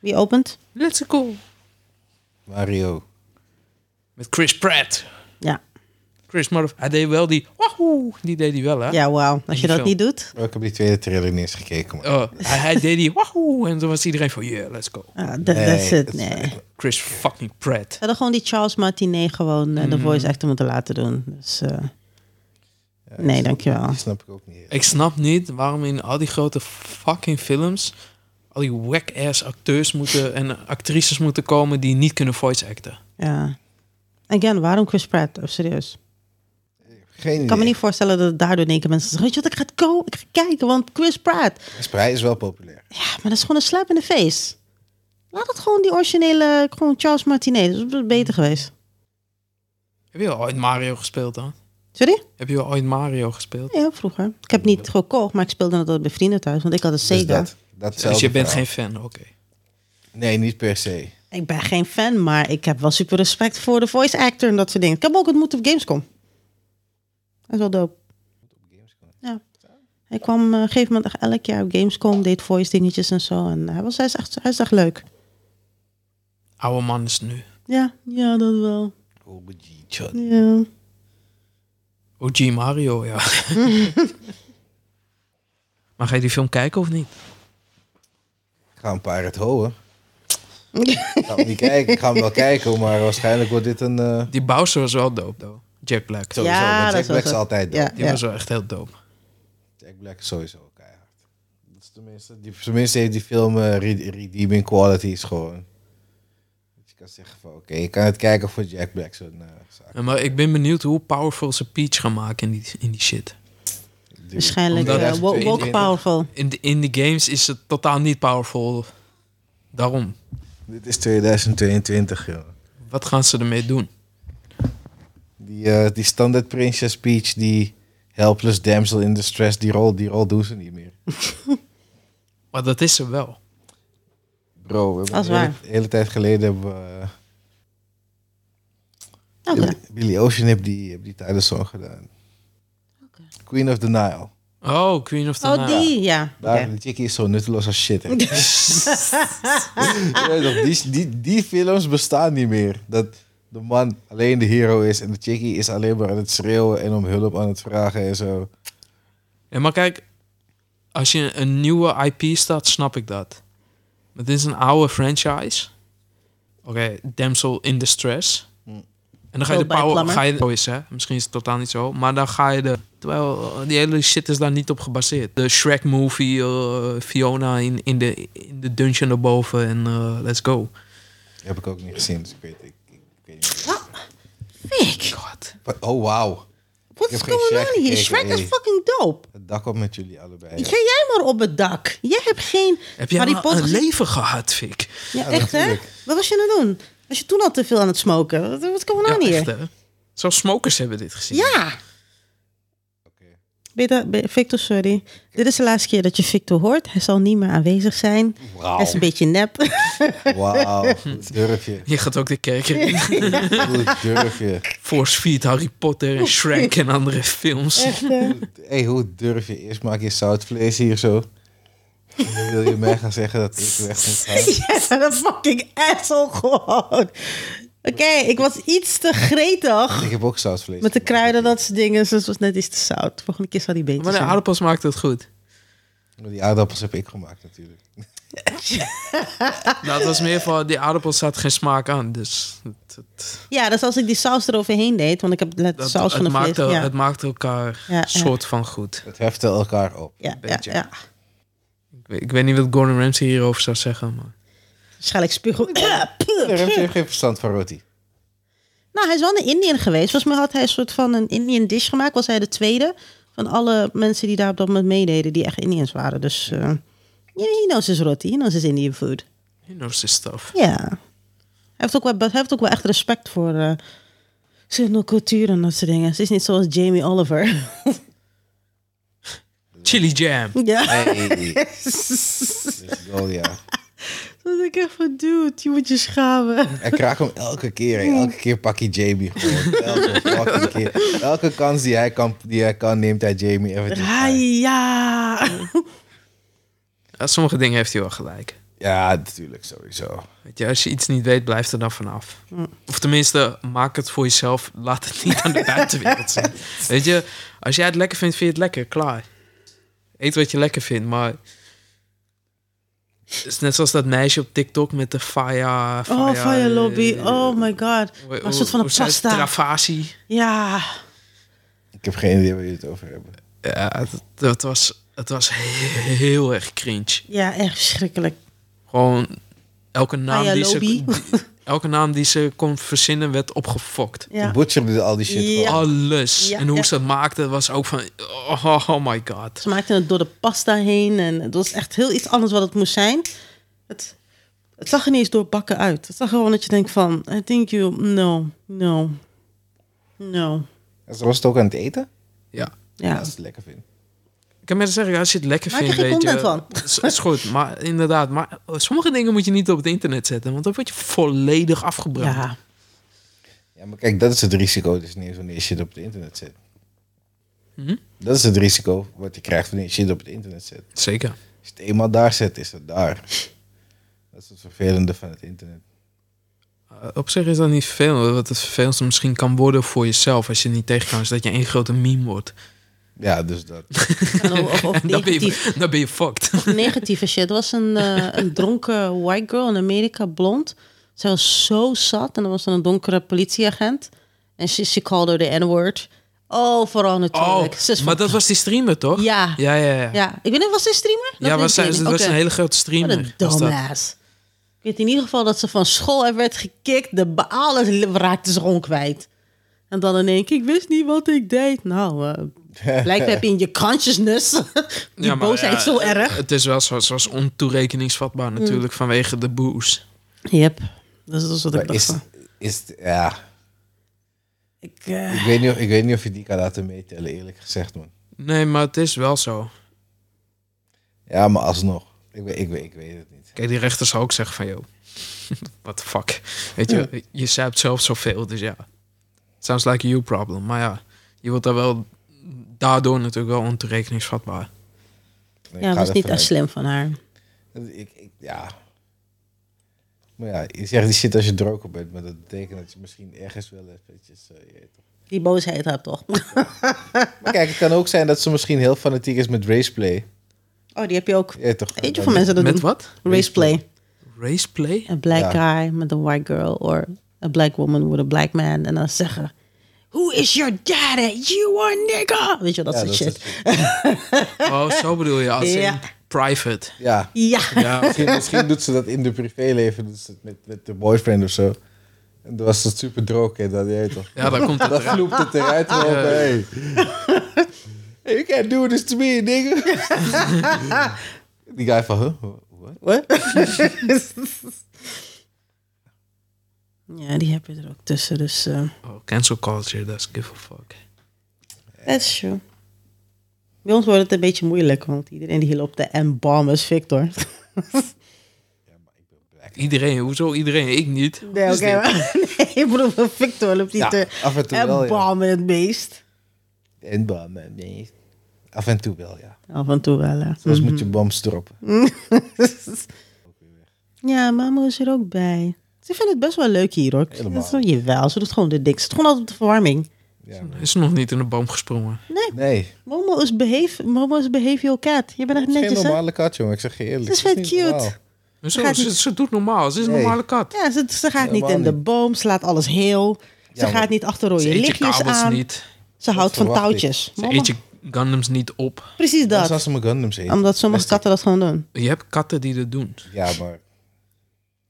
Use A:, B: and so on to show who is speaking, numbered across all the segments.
A: Wie opent?
B: Let's go.
C: Mario.
B: Met Chris Pratt.
A: Ja.
B: Chris Mother. Hij deed wel die. Wahoo! Die deed hij wel, hè?
A: Ja, wauw. Als je dat
B: die film.
A: niet doet.
C: Oh, ik heb die tweede trailer niet eens gekeken. Maar.
B: Oh, hij, hij deed die. Wahoo! En toen was iedereen van. Yeah, let's go.
A: ah, dat dat is het.
C: dat
A: Nee.
C: is-
B: Chris fucking Pratt.
A: Ze hadden gewoon die Charles Martinet gewoon eh, de voice actor moeten laten doen. Dus, eh,
C: ja,
A: nee,
C: dat-
A: dankjewel.
C: Dat snap ik ook niet.
B: Ik snap niet waarom in al die grote fucking films. al die whack-ass acteurs moeten en actrices moeten komen die niet kunnen voice acten.
A: Ja. Again, waarom Chris Pratt? Oh, serieus.
C: Geen
A: Ik kan me
C: idee.
A: niet voorstellen dat daardoor in één keer mensen zeggen... weet je wat, ik ga, het ko- ik ga kijken, want Chris Pratt.
C: Chris Pratt is wel populair. Dus
A: Ja, maar dat is gewoon een slap in de face. Laat het gewoon die originele, gewoon Charles Martinet. Dat is beter geweest.
B: Heb je al ooit Mario gespeeld dan?
A: Sorry?
B: Heb je al ooit Mario gespeeld?
A: Ja, vroeger. Ik heb niet gekocht, maar ik speelde het altijd bij vrienden thuis. Want ik had een
C: Dus
A: Sega.
C: dat, datzelfde
B: Dus je bent
C: verhaal.
B: geen fan, oké.
C: Nee, niet per se.
A: Ik ben geen fan, maar ik heb wel super respect voor de voice actor en dat soort dingen. Ik heb ook het moed op Gamescom. Dat is wel dope. Ja. Hij kwam eh, op een gegeven moment echt elk jaar op Gamescom, deed voice dingetjes en zo. En hij, was, hij, is echt, hij is echt leuk.
B: Oude man is het nu.
A: Ja, ja, dat wel.
C: OG Chud.
A: Ja.
B: OG Mario, ja. maar ga je die film kijken of niet?
C: Ik ga een paar het houden. Ik ga hem niet kijken. Ik ga hem wel kijken, maar waarschijnlijk wordt dit een... eh,
B: Die Bowser was wel dope, though. Jack Black.
C: sowieso,
A: Ja, dat
C: want Jack
A: is wel
C: Black is
A: zo.
C: altijd dood.
A: Ja,
B: Die
A: ja.
B: was wel echt heel dope.
C: Jack Black is sowieso keihard. Dat is tenminste, die, tenminste heeft die film eh, re- redeeming qualities gewoon. Dat je kan zeggen van, oké, je kan het kijken voor Jack Black, zo'n eh, zaak.
B: Ja, maar ik ben benieuwd hoe powerful ze Peach gaan maken in die, in die shit.
C: Dude.
A: Waarschijnlijk
B: Omdat-
A: eh, wo- woke,
B: 2021.
A: powerful.
B: In de, in de games is het totaal niet powerful. Daarom.
C: Dit is 2022, joh.
B: Wat gaan ze ermee doen?
C: Die, eh, die standaard Princess Peach, die helpless damsel in distress, die rol, die rol doen ze niet meer.
B: Maar dat is ze wel.
C: Bro, we hebben
A: Dat is
C: een hele,
A: waar.
C: hele tijd geleden hebben we... eh,
A: Oké.
C: Billy Ocean heeft die, heeft die tijdens song gedaan.
A: Oké.
C: Queen of the Nile.
B: Oh, Queen of the
A: Oh,
B: Nile.
A: die, ja.
C: Daar,
A: Oké.
C: Die chickie is zo nutteloos als shit. hè. Je weet toch, die, die, die films bestaan niet meer. Dat de man alleen de hero is en de chickie is alleen maar aan het schreeuwen en om hulp aan het vragen en zo.
B: Ja, maar kijk, als je een nieuwe IP staat, snap ik dat. Maar dit is een oude franchise. Oké, Damsel in Distress. En dan ga je de
A: Speelt bij Plummer.
B: power... Ga je, zo is, hè? Misschien is het totaal niet zo. Maar dan ga je de... Terwijl eh, die hele shit is daar niet op gebaseerd. De Shrek-movie, eh, Fiona in, in, de, in de dungeon erboven en eh, let's go.
C: Die heb ik ook niet gezien, dus ik weet, ik, ik weet niet.
A: Fik,
B: God.
C: Maar- Oh, wauw.
A: wat
C: Ik heb
A: is
C: geen
A: going
C: Shrek
A: on hier?
C: gekeken,
A: Shrek is
C: hey.
A: fucking dope.
C: Het dak op met jullie allebei.
A: Ga jij maar op het dak. Jij hebt geen
B: Heb jij
A: Harry
B: nou
A: Potter
B: een
A: gezien?
B: leven gehad, Fik?
A: Ja, echt hè?
C: natuurlijk.
A: Wat was je aan het doen? Was je toen al te veel aan het smoken? Wat, wat going
B: Ja,
A: on
B: echt, eh,
A: hier?
B: hè? Zelfs smokers hebben dit gezien.
A: Ja.
C: Oké.
A: Beta, Be- Victor, sorry. Dit is de laatste keer dat je Victor hoort. Hij zal niet meer aanwezig zijn. Hij is een beetje nep.
C: Wauw, Hoe durf je.
B: Je gaat ook de kerk in.
C: Hoe durf je.
B: Force Feed, Harry Potter en Shrek en andere films.
C: hey, hoe durf je. Eerst maak je zoutvlees hier zo. En dan wil je mij gaan zeggen dat ik weg moet gaan.
A: Yes, en een fucking asshole gewoon. Oké, ik was iets te gretig.
C: Ik heb ook zoutvlees.
A: Met de kruiden, dat soort dingen. Dus het was net iets te zout. Volgende keer zal die beter
B: Maar de
A: zijn.
B: aardappels maakt het goed.
C: Maar Die aardappels heb ik gemaakt natuurlijk.
B: Dat Nou, was meer van, die aardappels had geen smaak aan. Dus het, het,
A: Ja, dus als ik die saus eroverheen deed. Want ik heb net
B: dat,
A: saus van
B: het
A: de
B: maakte,
A: vlees. Ja.
B: het maakte elkaar
A: Ja, ja.
B: soort van goed.
C: Het heften elkaar op.
A: ja, ja,
B: beetje.
A: ja.
B: Ik weet, ik weet niet wat Gordon Ramsay hierover zou zeggen. Maar.
A: Waarschijnlijk spiegel.
C: Daar heb je geen verstand van roti.
A: nou, hij is wel naar Indië geweest. Volgens mij had hij een soort van een Indian dish gemaakt. Was hij de tweede van alle mensen die daar op dat moment meededen. Die echt Indiërs waren. Dus eh he knows his roti. He knows his Indian food.
B: You know this stuff.
A: Ja. Hij heeft ook wel, hij heeft ook wel echt respect voor eh zijn cultuur en dat soort dingen. Het is niet zoals Jamie Oliver.
B: Chili jam.
A: ja.
C: Hey. Let's go, ja.
A: Dat ik echt van, dude, je moet je schamen.
C: En kraak hem elke keer. hè. Elke keer pak je Jamie gewoon. Elke fucking keer. Elke kans die hij kan, die hij kan neemt hij Jamie. Even
A: Ja, ja.
B: Ja, sommige dingen heeft hij wel gelijk.
C: Ja, Ja, natuurlijk, sowieso.
B: Weet je, als je iets niet weet, blijf er dan vanaf. Of tenminste, maak het voor jezelf. Laat het niet aan de buitenwereld zien. Weet je, als jij het lekker vindt, vind je het lekker. Klaar. Eet wat je lekker vindt, maar... Het is net zoals dat meisje op TikTok met de faya...
A: Oh, fire lobby. Oh my god.
B: Hoe-
A: Maar
B: hoe-
A: Een soort van een
B: hoe zei het?
A: pasta.
B: Travasi.
A: Ja.
C: Ik heb geen idee waar jullie het over hebben.
B: Ja, het, het was, het was heel erg cringe.
A: Ja, echt verschrikkelijk.
B: Gewoon elke naam,
A: Faya
B: die ze,
A: lobby.
B: die- elke naam die ze kon verzinnen werd opgefokt.
A: Ja.
C: Butcher doet al die shit
A: Ja.
C: gewoon.
B: Alles.
A: Ja,
B: en hoe
A: ja.
B: ze het maakte was ook van... Oh, oh my god.
A: Ze maakten het door de pasta heen en het was echt heel iets anders wat het moest zijn. Het, het zag er niet eens door bakken uit. Het zag gewoon dat je denkt van, I think you, no, no, no.
C: En Ze was het ook aan het eten?
B: Ja.
A: Ja,
C: Als ze het lekker vindt.
B: Ik kan mensen zeggen, als je het lekker
A: Maak er
B: vindt,
A: geen
B: weet je...
A: content van.
B: Het is, is goed, maar inderdaad. Maar eh, sommige dingen moet je niet op het internet zetten. Want dan word je volledig afgebrand.
A: ja.
C: Ja, maar kijk, dat is het risico dus niet eens wanneer je shit op het internet zet.
B: Hm?
C: Dat is het risico wat je krijgt wanneer je shit op het internet zet.
B: Zeker.
C: Als je het eenmaal daar zet, is het daar. Dat is het vervelende van het internet.
B: Eh, Op zich is dat niet veel. Wat het vervelendste misschien kan worden voor jezelf... als je het niet tegen kan, is dat je één grote meme wordt.
C: Ja, dus dat.
A: Of, of
B: En dan ben
A: negatief.
B: je, dan ben je fucked.
A: negatieve shit. Er was een, eh, een dronken white girl in Amerika, blond. Zij was zo zat en er was dan een donkere politieagent. En she, she called her the N-word. Oh, vooral
B: Oh,
A: natuurlijk. Ze is
B: maar
A: van-
B: dat was die streamer, toch?
A: Ja.
B: Ja, ja, ja.
A: Ja, ik weet niet, was ze een streamer? Dat
B: Ja,
A: weet
B: was,
A: ik
B: zij-
A: niet.
B: het was
A: Oké.
B: een hele grote
A: Wat
B: streamer.
A: een
B: was dat.
A: domaas. Ik weet in ieder geval dat ze van school af werd gekikt. De ba- alles li- raakte ze gewoon kwijt. En dan in één keer, ik wist niet wat ik deed. Nou, eh blijkbaar heb je in je consciousness die
B: Ja, maar
A: boosheid
B: ja, eh,
A: zo erg.
B: Het is wel zo, het was ontoerekeningsvatbaar
A: Mm.
B: natuurlijk vanwege de boos.
A: Yep, dus dat is wat ik
C: Maar
A: dacht.
C: is,
A: van.
C: is, ja,
A: Ik, eh,
C: ik, weet niet, of- ik weet niet of je die kan laten meetellen, eerlijk gezegd, man.
B: Nee, maar het is wel zo.
C: Ja, maar alsnog. Ik weet, ik weet, ik weet het niet.
B: Kijk, die rechter zou ook zeggen van, joh, what the fuck. Weet je, je zuipt zelf zoveel, dus ja. Sounds like a you problem. Maar ja, je wordt daar wel, daardoor natuurlijk wel ontoerekeningsvatbaar.
C: Nee,
A: ja,
C: ik ga
A: was
C: er
A: niet
C: vanuit.
A: echt slim van haar.
C: Ik, ik, ja. Maar ja, je zegt die shit als je dronken bent, maar dat betekent dat je misschien ergens wel eventjes... eh, je weet toch.
A: Die boosheid had toch.
C: Maar kijk, het kan ook zijn dat ze misschien heel fanatiek is met raceplay.
A: Oh, die heb je ook.
C: Je weet toch?
A: Weet je
C: Dat-
A: van mensen dat
B: Met
A: doen?
B: wat?
A: Raceplay.
B: Raceplay?
A: Een black guy met een white girl. Or a black woman with a black man. En dan zeggen... Who is your daddy? You are nigga! Weet je wel, dat
C: Ja,
A: soort
C: dat
A: shit.
C: soort
B: Oh, zo bedoel je, als
A: Ja.
B: in private.
C: Ja,
A: Ja.
B: Ja,
C: misschien, misschien doet ze dat in de privéleven, doet ze het met, met de boyfriend of zo. En dan was dat super droog, hè, dat je weet toch?
B: ja, daar komt het
C: Dat
B: eruit.
C: vloept het eruit gewoon
B: Ja.
C: bij. Hey, you can't do this to me, nigga. Die guy van, huh? What?
A: What? ja, die heb je er ook tussen. Dus eh
B: Oh, cancel culture, that's give a fuck.
A: that's true. Bij ons wordt het een beetje moeilijk. Want iedereen die hier loopt de M-bomb is Victor.
B: Iedereen, hoezo iedereen? Ik niet.
A: Nee,
B: Is
A: oké.
B: dit-
A: maar- nee, ik bedoel, Victor loopt niet
C: Ja,
A: de
C: af en toe wel, ja.
A: M-bomb in het meest.
C: En bam, nee. Af en toe wel, ja.
A: Af en toe wel, hè.
C: Soms
B: Mhm.
C: moet je bombs droppen.
A: Ja, mama is er ook bij. Ze vinden het best wel leuk hier, hoor.
C: Helemaal.
A: Dat is wel, jawel, ze doet gewoon de dikste. Gewoon altijd op de verwarming.
C: Ja, maar-
B: Is nog niet in de boom gesprongen.
C: nee,
A: Momo is, behave, Momo is behavioral cat. Je bent echt
C: het is geen
A: netjes, hè?
C: normale kat, jongen. Ik zeg je eerlijk.
A: Het is
C: Het
A: vet
C: niet
A: cute.
C: normaal.
B: Zo,
A: gaat
B: ze,
A: niet-
B: ze doet normaal. Ze is een
C: Nee.
B: normale kat.
A: Ja, ze, ze gaat niet
C: Helemaal
A: in de
C: niet.
A: boom, ze laat alles heel. Ze
C: Ja,
A: gaat
C: maar-
A: niet achter rode
B: Ze eet je
A: lichtjes
B: kabels
A: aan.
B: niet.
A: Ze houdt van
C: verwacht ik.
A: touwtjes.
B: Ze
A: Mama-
B: eet je Gundams niet op.
A: Precies
C: Dat is als
A: dat.
C: ze mijn Gundams eten.
A: Omdat sommige
C: Best-
A: katten dat gewoon doen.
B: Je hebt katten die dat doen.
C: Ja, maar...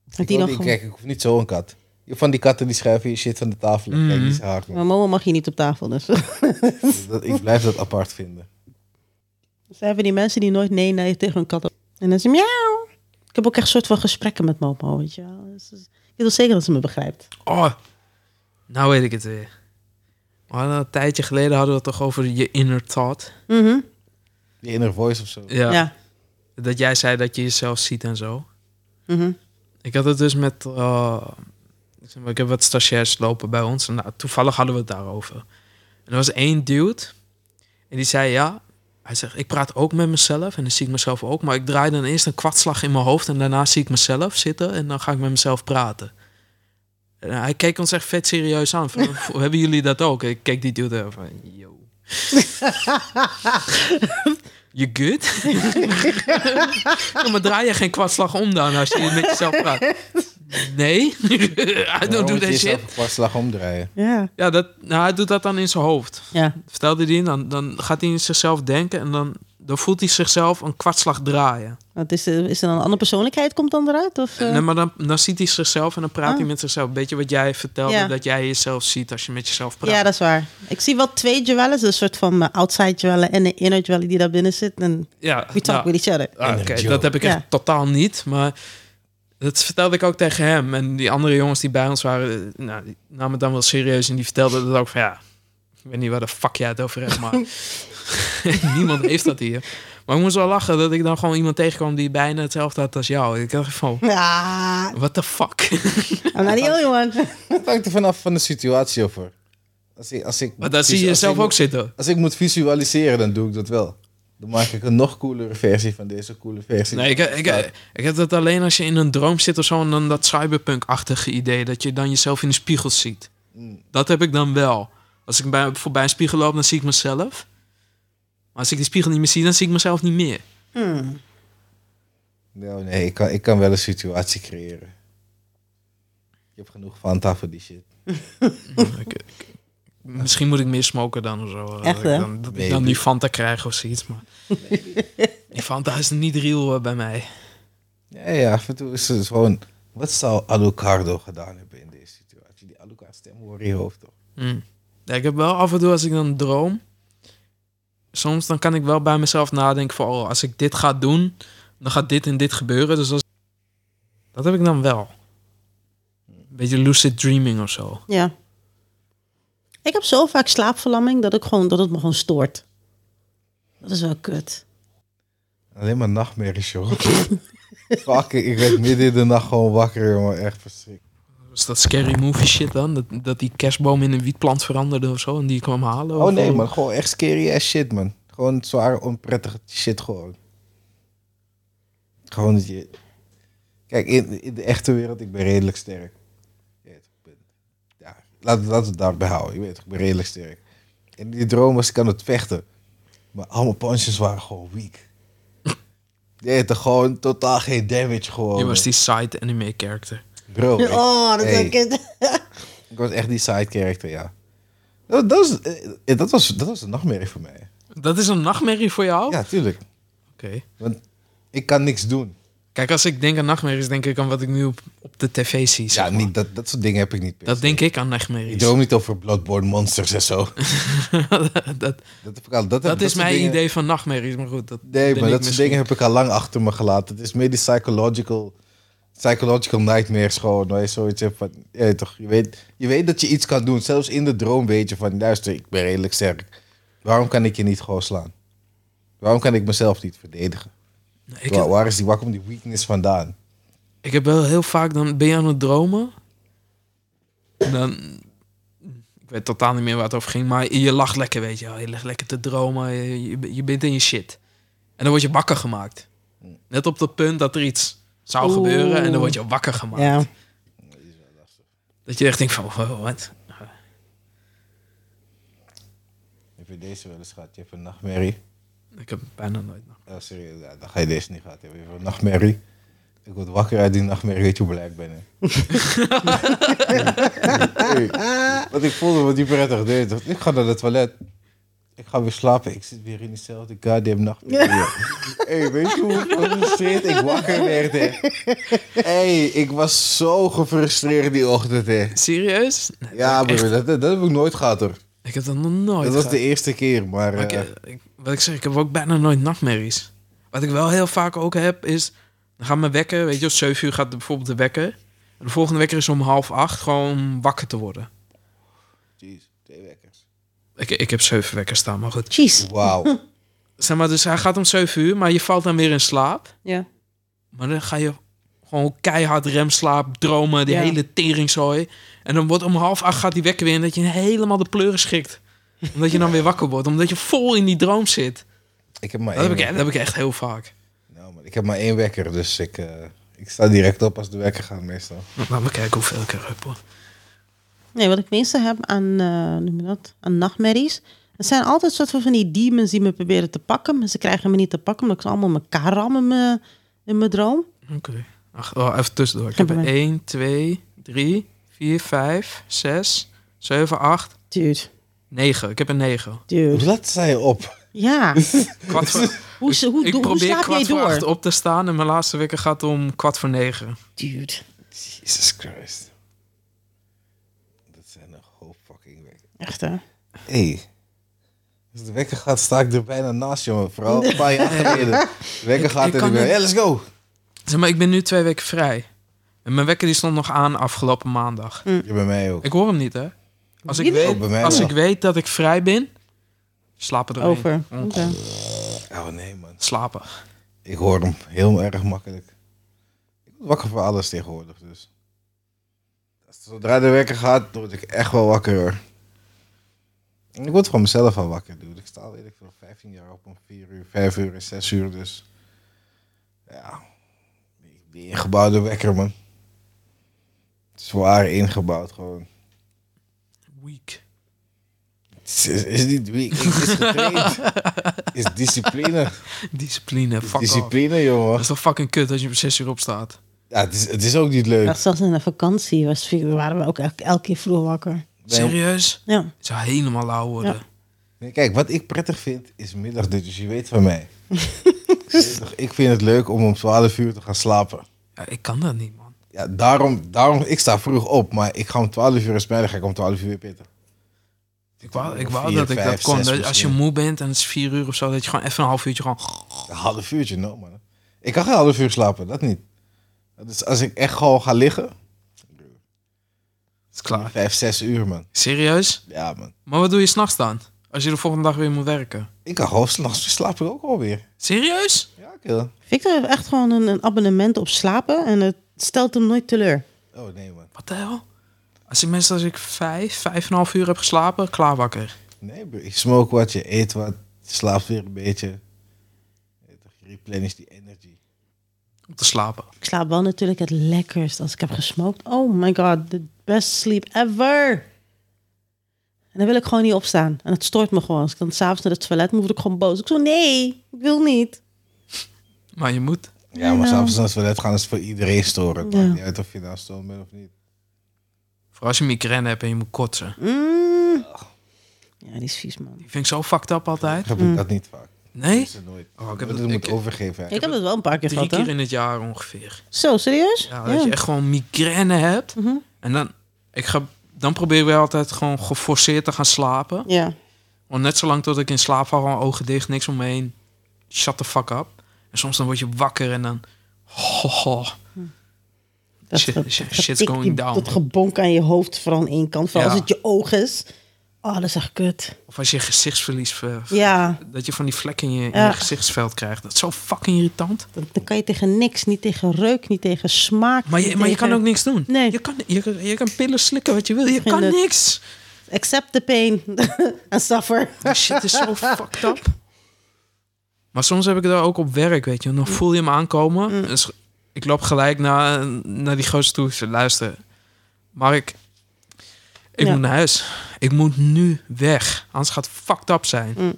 A: Dat
C: Ik,
A: die
C: wil
A: dan
C: niet-
A: gewoon...
C: kijk, ik hoef niet zo'n kat. Je hebt Van die katten die schuiven je shit van de tafel. af.
B: Mhm.
C: Kijk, die is hard. man.
A: Maar Momo mag hier niet op tafel, dus.
C: Dus dat- ik blijf dat apart vinden.
A: Ze hebben die mensen die nooit nee, nee tegen hun katten. En dan ze miauw. Ik heb ook echt een soort van gesprekken met Momo, weet je wel. Dus- dus ik wil zeker dat ze me begrijpt.
B: Oh, nou weet ik het weer. We hadden een tijdje geleden hadden we het toch over je inner thought.
A: Mhm,
C: Die inner voice of zo.
B: Ja,
A: Ja.
B: Dat jij zei dat je jezelf ziet en zo.
A: mhm.
B: Ik had het dus met... eh, ik zeg maar, ik heb wat stagiairs lopen bij ons. En nou, toevallig hadden we het daarover. En er was één dude. En die zei, ja, Hij zegt, ik praat ook met mezelf en dan zie ik mezelf ook. Maar ik draai dan eerst een kwartslag in mijn hoofd en daarna zie ik mezelf zitten en dan ga ik met mezelf praten. En hij keek ons echt vet serieus aan. Van, hebben jullie dat ook? Ik keek die dude aan van, yo. You good? ja, maar draai je geen kwartslag om dan als je met jezelf praat? Nee, I don't do that shit.
C: slag omdraaien.
A: Ja.
B: Ja, dat, nou, hij doet dat dan in zijn hoofd.
A: Ja.
B: Vertelde hij, dan, dan gaat hij in zichzelf denken en dan, dan voelt hij zichzelf een kwartslag draaien.
A: Wat is, er, is er dan een andere persoonlijkheid komt dan eruit? Of, eh?
B: Nee, maar dan, dan ziet hij zichzelf en dan praat
A: Ah.
B: hij met zichzelf. Beetje wat jij vertelde,
A: Ja.
B: dat jij jezelf ziet als je met jezelf praat.
A: ja, dat is waar. Ik zie wel twee Joelles, een soort van eh, outside Joelle en een inner Joelle die daar binnen zit. En
B: Ja,
A: we talk
B: nou,
A: with each other.
B: ah, Oké,
C: Energy.
B: dat heb ik
A: Ja.
B: echt totaal niet, maar dat vertelde ik ook tegen hem. En die andere jongens die bij ons waren, eh, nou, die namen het dan wel serieus en die vertelden dat ook van ja, ik weet niet waar de fuck jij het over hebt, maar niemand heeft dat hier. Maar ik moest wel lachen dat ik dan gewoon iemand tegenkwam die bijna hetzelfde had als jou. Ik dacht van,
A: Ja,
B: what the fuck?
A: Ah, I'm not the only one.
C: Het hangt er vanaf van de situatie af. hoor. Als ik, als ik,
B: maar daar zie
C: als
B: je
C: ik
B: jezelf
C: moet-
B: ook zitten.
C: Als ik moet visualiseren, dan doe ik dat wel. Dan maak ik een nog coolere versie van deze coole versie.
B: Nee, ik, ik, ik, heb dat alleen als je in een droom zit of zo en dan dat cyberpunk-achtige idee dat je dan jezelf in de spiegel ziet.
C: Mm.
B: Dat heb ik dan wel. Als ik bij, voorbij een spiegel loop, dan zie ik mezelf. Maar als ik die spiegel niet meer zie, dan zie ik mezelf niet meer.
A: Hmm.
C: Nou, nee, ik kan, ik kan wel een situatie creëren. Ik heb genoeg Fanta voor die shit.
B: Ik- ik- misschien moet ik meer smoken dan of zo.
A: Echt,
B: dat
A: hè?
B: ik dan, dat ik
C: Maybe.
B: dan die Fanta krijg of zoiets. Maar... die Fanta is niet real eh, bij mij.
C: Ja, ja, af en toe is het gewoon... Wat zou Alucardo gedaan hebben in deze situatie? Die Alucard stem hoor in je hoofd, toch?
B: Mm. Ja, ik heb wel af en toe als ik dan droom. Soms dan kan ik wel bij mezelf nadenken van oh, als ik dit ga doen, dan gaat dit en dit gebeuren. Dus als... dat heb ik dan wel. Beetje lucid dreaming of zo.
A: Ja. Ik heb zo vaak slaapverlamming dat, ik gewoon, dat het me gewoon stoort. Dat is wel kut.
C: Alleen maar nachtmerries, joh. Fuck, ik werd midden in de nacht gewoon wakker, jongen. Echt verschrikkelijk.
B: Dus dat scary movie shit dan, dat, dat die kerstboom in een wietplant veranderde of zo en die kwam halen.
C: Oh
B: of
C: nee,
B: zo.
C: man. Gewoon echt scary ass shit, man. Gewoon zware, onprettige shit, gewoon. Gewoon dat je... Kijk, in, in de echte wereld, ik ben redelijk sterk. Je weet, ik ben- Ja, laat, laten we het daarbij houden. Je weet, ik ben redelijk sterk. In die droom was ik aan het vechten. Maar al mijn punches waren gewoon weak. Je weet, toch, gewoon totaal geen damage, gewoon.
B: Je was die side anime character.
C: Bro, ik-
A: Oh, dat is
C: hey.
A: wel kut.
C: Ik was echt die side character, ja. Dat, dat, was, eh, dat, was, dat was een nachtmerrie voor mij.
B: Dat is een nachtmerrie voor jou?
C: Ja, tuurlijk.
B: Oké.
C: Want ik kan niks doen.
B: Kijk, als ik denk aan nachtmerries, denk ik aan wat ik nu op, op de tv zie. zeg
C: Ja,
B: maar.
C: niet, dat, dat soort dingen heb ik niet. per
B: Dat
C: se.
B: denk ik aan
C: Ik
B: nachtmerries.
C: droom niet over Bloodborne monsters en zo.
B: dat,
C: Dat, heb ik al, dat,
B: Dat is
C: soort
B: mijn
C: dingen-
B: idee van nachtmerries, maar goed. Dat
C: Nee,
B: ben
C: maar
B: ik
C: dat soort
B: misschien.
C: dingen heb ik al lang achter me gelaten. Het is meer die psychological, psychological nightmares gewoon. Waar je zoiets hebt van, je weet toch, je weet, je weet dat je iets kan doen. Zelfs in de droom weet je van, luister, ik ben redelijk sterk. Waarom kan ik je niet gewoon slaan? Waarom kan ik mezelf niet verdedigen?
B: Ik
C: waar,
B: heb,
C: waar is die, waar komt die weakness vandaan?
B: ik heb wel heel vaak, dan ben je aan het dromen. En dan, ik weet totaal niet meer waar het over ging, maar je lacht lekker, weet je wel. Je ligt lekker te dromen, je, je, je bent in je shit. En dan word je wakker gemaakt. Net op dat punt dat er iets zou
A: Oeh.
B: gebeuren en dan word je wakker gemaakt.
A: Ja.
B: Dat je echt denkt van, wow, wat?
C: Heb je deze wel eens gehad? Je hebt een nachtmerrie.
B: Ik heb bijna nooit nog.
C: Oh, serieus, ja, dan ga je deze niet gehad hebben. Je hebt een nachtmerrie. Ik word wakker uit die nachtmerrie, weet je hoe blij ik ben. Hè? Hey, want ik voelde me niet prettig. Nee, ik dacht, ik ga naar het toilet. Ik ga weer slapen. Ik zit weer in diezelfde goddamn nachtmerrie. hey, weet je hoe gefrustreerd ik wakker werd? Hè? hey, ik was zo gefrustreerd die ochtend. Hè?
B: Serieus? Nee,
C: Ja,
B: ik, echt-
C: broer, dat, dat heb ik nooit gehad hoor.
B: ik heb dat nog nooit
C: Dat was
B: gehad.
C: de eerste keer, maar...
B: Maar ik,
C: eh,
B: eh, ik- wat ik zeg, ik heb ook bijna nooit nachtmerries. Wat ik wel heel vaak ook heb, is... Dan gaat mijn wekker, weet je, om 7 uur gaat de- bijvoorbeeld de wekker. En de volgende wekker is om half acht, gewoon om wakker te worden.
C: Jeez, twee wekkers.
B: Ik, ik heb zeven wekkers staan, maar goed.
A: Jeez.
C: Wauw.
B: Zeg maar, dus hij gaat om 7 uur, maar je valt dan weer in slaap.
A: Ja.
B: Maar dan ga je gewoon keihard remslaap, dromen, die
A: Ja.
B: hele teringzooi. En dan wordt om half acht gaat die wekker weer en dat je helemaal de pleuren schikt. Omdat je dan weer wakker wordt, omdat je vol in die droom zit.
C: Ik heb maar
B: Dat heb, ik,
C: één
B: e- dat heb ik echt heel vaak.
C: Nou, maar ik heb maar één wekker, dus ik, eh, ik sta direct op als de wekker gaat meestal.
B: Laat me kijken hoeveel ik er heb. hoor.
A: Nee, wat ik meeste heb aan, eh, hoe noem je dat, aan nachtmerries. Het zijn altijd soort van, van die demons die me proberen te pakken. Maar ze krijgen me niet te pakken, omdat ik ze allemaal in elkaar ram in mijn, in mijn droom.
B: Oké. Ach, oh, even tussendoor. Ik
A: Geen
B: heb er
A: probleem.
B: 1, 2, 3, 4, 5, 6, 7, 8,
A: Dude,
B: 9. Ik heb een 9.
A: dude.
C: Laat zij op.
A: Ja,
B: Kwart voor,
A: hoe, ze- hoe,
B: ik
A: doe- hoe
B: probeer
A: slaap jij
B: kwart voor acht
A: door?
B: op te staan en mijn laatste wekker gaat om kwart voor negen.
A: Dude.
C: Jesus Christ. Dat zijn een hoop fucking wekker.
A: Echt hè?
C: Hé. Als de wekker gaat, sta ik er bijna naast, jongen. Vooral een paar jaar geleden. De wekker
B: Ik-
C: gaat
B: ik
C: en
B: kan
C: ik ben,
B: het-
C: ja, let's go.
B: Zeg maar, ik ben nu twee weken vrij. En mijn wekker die stond nog aan afgelopen maandag.
C: Je bij mij ook.
B: Mm. Ik hoor hem niet, hè? Als ik
A: Mm. Niet?
C: Oh, bij
B: weet,
C: mij
B: als
C: wel.
B: ik weet dat ik vrij ben, slapen erin.
A: Over. Oké.
C: Oh nee, man.
B: Slapen.
C: Ik hoor hem heel erg makkelijk. Ik word wakker voor alles tegenwoordig, dus. Zodra de wekker gaat, word ik echt wel wakker, hoor. En ik word van mezelf al wakker, dude. Ik sta al, weet ik veel, 15 jaar op om 4 uur, 5 uur en 6 uur, dus... Ja, ik ben ingebouwd door wekker, man. Zwaar ingebouwd, gewoon.
B: Week.
C: Het is, is- is niet weak, het is getraind. Het is discipline.
B: Discipline,
C: Het is
B: fuck off.
C: discipline,
B: Dat
C: jongen.
B: is toch fucking kut als je om zes uur opstaat.
C: Ja, het is, het is ook niet leuk.
A: Ja, zelfs in de vakantie was, waren we ook elke, elke keer vroeg wakker.
C: Nee,
B: Serieus?
A: Ja.
B: Het zou helemaal lauw worden.
C: Nee, kijk, wat ik prettig vind is middagdutjes. Je weet van mij. Je weet toch, ik vind het leuk om om 12 uur te gaan slapen.
B: Ja, ik kan dat niet, man.
C: Ja, daarom, daarom, ik sta vroeg op, maar ik ga om 12 uur eens dan ga ik om 12 uur weer pitten.
B: Ik wou, ik
C: Om
B: wou
C: vier,
B: dat ik
C: vijf,
B: dat kon.
C: zes
B: Dat als je
C: misschien.
B: moe bent en het is vier uur of zo, dat je gewoon even een half uurtje gewoon...
C: Een half uurtje, no man. Ik kan geen half uur slapen, dat niet. Dus als ik echt gewoon ga liggen,
B: Het is klaar.
C: 5, 6 uur man.
B: Serieus?
C: Ja man.
B: Maar wat doe je s'nachts dan? Als je de volgende dag weer moet werken.
C: Ik kan gewoon s'nachts weer slapen ook alweer.
B: Serieus?
C: Ja, kill.
A: Victor heeft echt gewoon een, een abonnement op slapen en het stelt hem nooit teleur.
C: Oh nee man.
B: Wat de hel? Als ik mensen als ik vijf, vijf en een half uur heb geslapen, klaar wakker.
C: Nee, bro, je smoke wat, je eet wat, je slaapt weer een beetje. Je weet toch, Je replenish die energy.
B: Om te slapen.
A: Ik slaap wel natuurlijk het lekkerst als ik heb gesmokt. Oh my god, the best sleep ever. En dan wil ik gewoon niet opstaan. En het stoort me gewoon. Als ik dan s'avonds naar het toilet moet, word ik gewoon boos. Ik zo, nee, ik wil niet.
B: Maar je moet.
C: Ja, maar
A: Nou.
C: s'avonds als we net gaan, is het voor iedereen storen. Het maakt
A: Ja.
C: niet uit of je nou stom bent of niet.
B: Voor als je migraine hebt en je moet kotsen.
A: Mm. Ja, die is vies, man.
B: Die vind ik zo fucked up altijd.
C: Heb ik
A: Hm.
C: dat niet vaak.
B: Nee?
C: Is er nooit.
B: Oh, ik heb
C: ik heb
B: dat-
C: het moet
B: ik-
C: overgeven. hè.
A: Ik heb het wel een paar keer
B: Drie
A: gehad,
B: keer
A: hoor.
B: in het jaar ongeveer.
A: Zo, serieus?
B: Ja, dat je echt gewoon migraine hebt.
A: Mhm.
B: En dan, ik ga, dan probeer ik wel altijd gewoon geforceerd te gaan slapen.
A: Ja.
B: Want net zolang tot ik in slaap val, gewoon ogen dicht, niks om me heen. Shut the fuck up. En soms dan word je wakker en dan... Ho, ho.
A: Dat
B: Shit-
A: ge-
B: shit-
A: dat
B: shit's
A: getik-
B: going
A: die-
B: down.
A: Dat gebonk aan je hoofd, vooral aan één kant. Vooral
B: Ja.
A: als het je oog is. Oh, dat is echt kut.
B: Of als je gezichtsverlies... ver-
A: Ja,
B: Dat je van die vlekken in je, in
A: Ja.
B: je gezichtsveld krijgt. Dat is zo fucking irritant.
A: dan, dan kan je tegen niks. Niet tegen reuk, niet tegen smaak.
B: Maar je,
A: niet
B: maar je
A: tegen-
B: kan ook niks doen.
A: Nee.
B: Je, kan, je, kan- je kan pillen slikken wat je wil. Je
A: Geen
B: kan
A: nut.
B: niks.
A: Accept the pain en suffer.
B: Die shit is zo fucked up. Maar soms heb ik dat ook op werk, weet je. Dan voel je hem aankomen. Dus ik loop gelijk naar, naar die gozer toe. Ik zeg, luister, Mark, ik
A: Ja.
B: moet naar huis. Ik moet nu weg. Anders gaat het fucked up zijn.
A: Mm.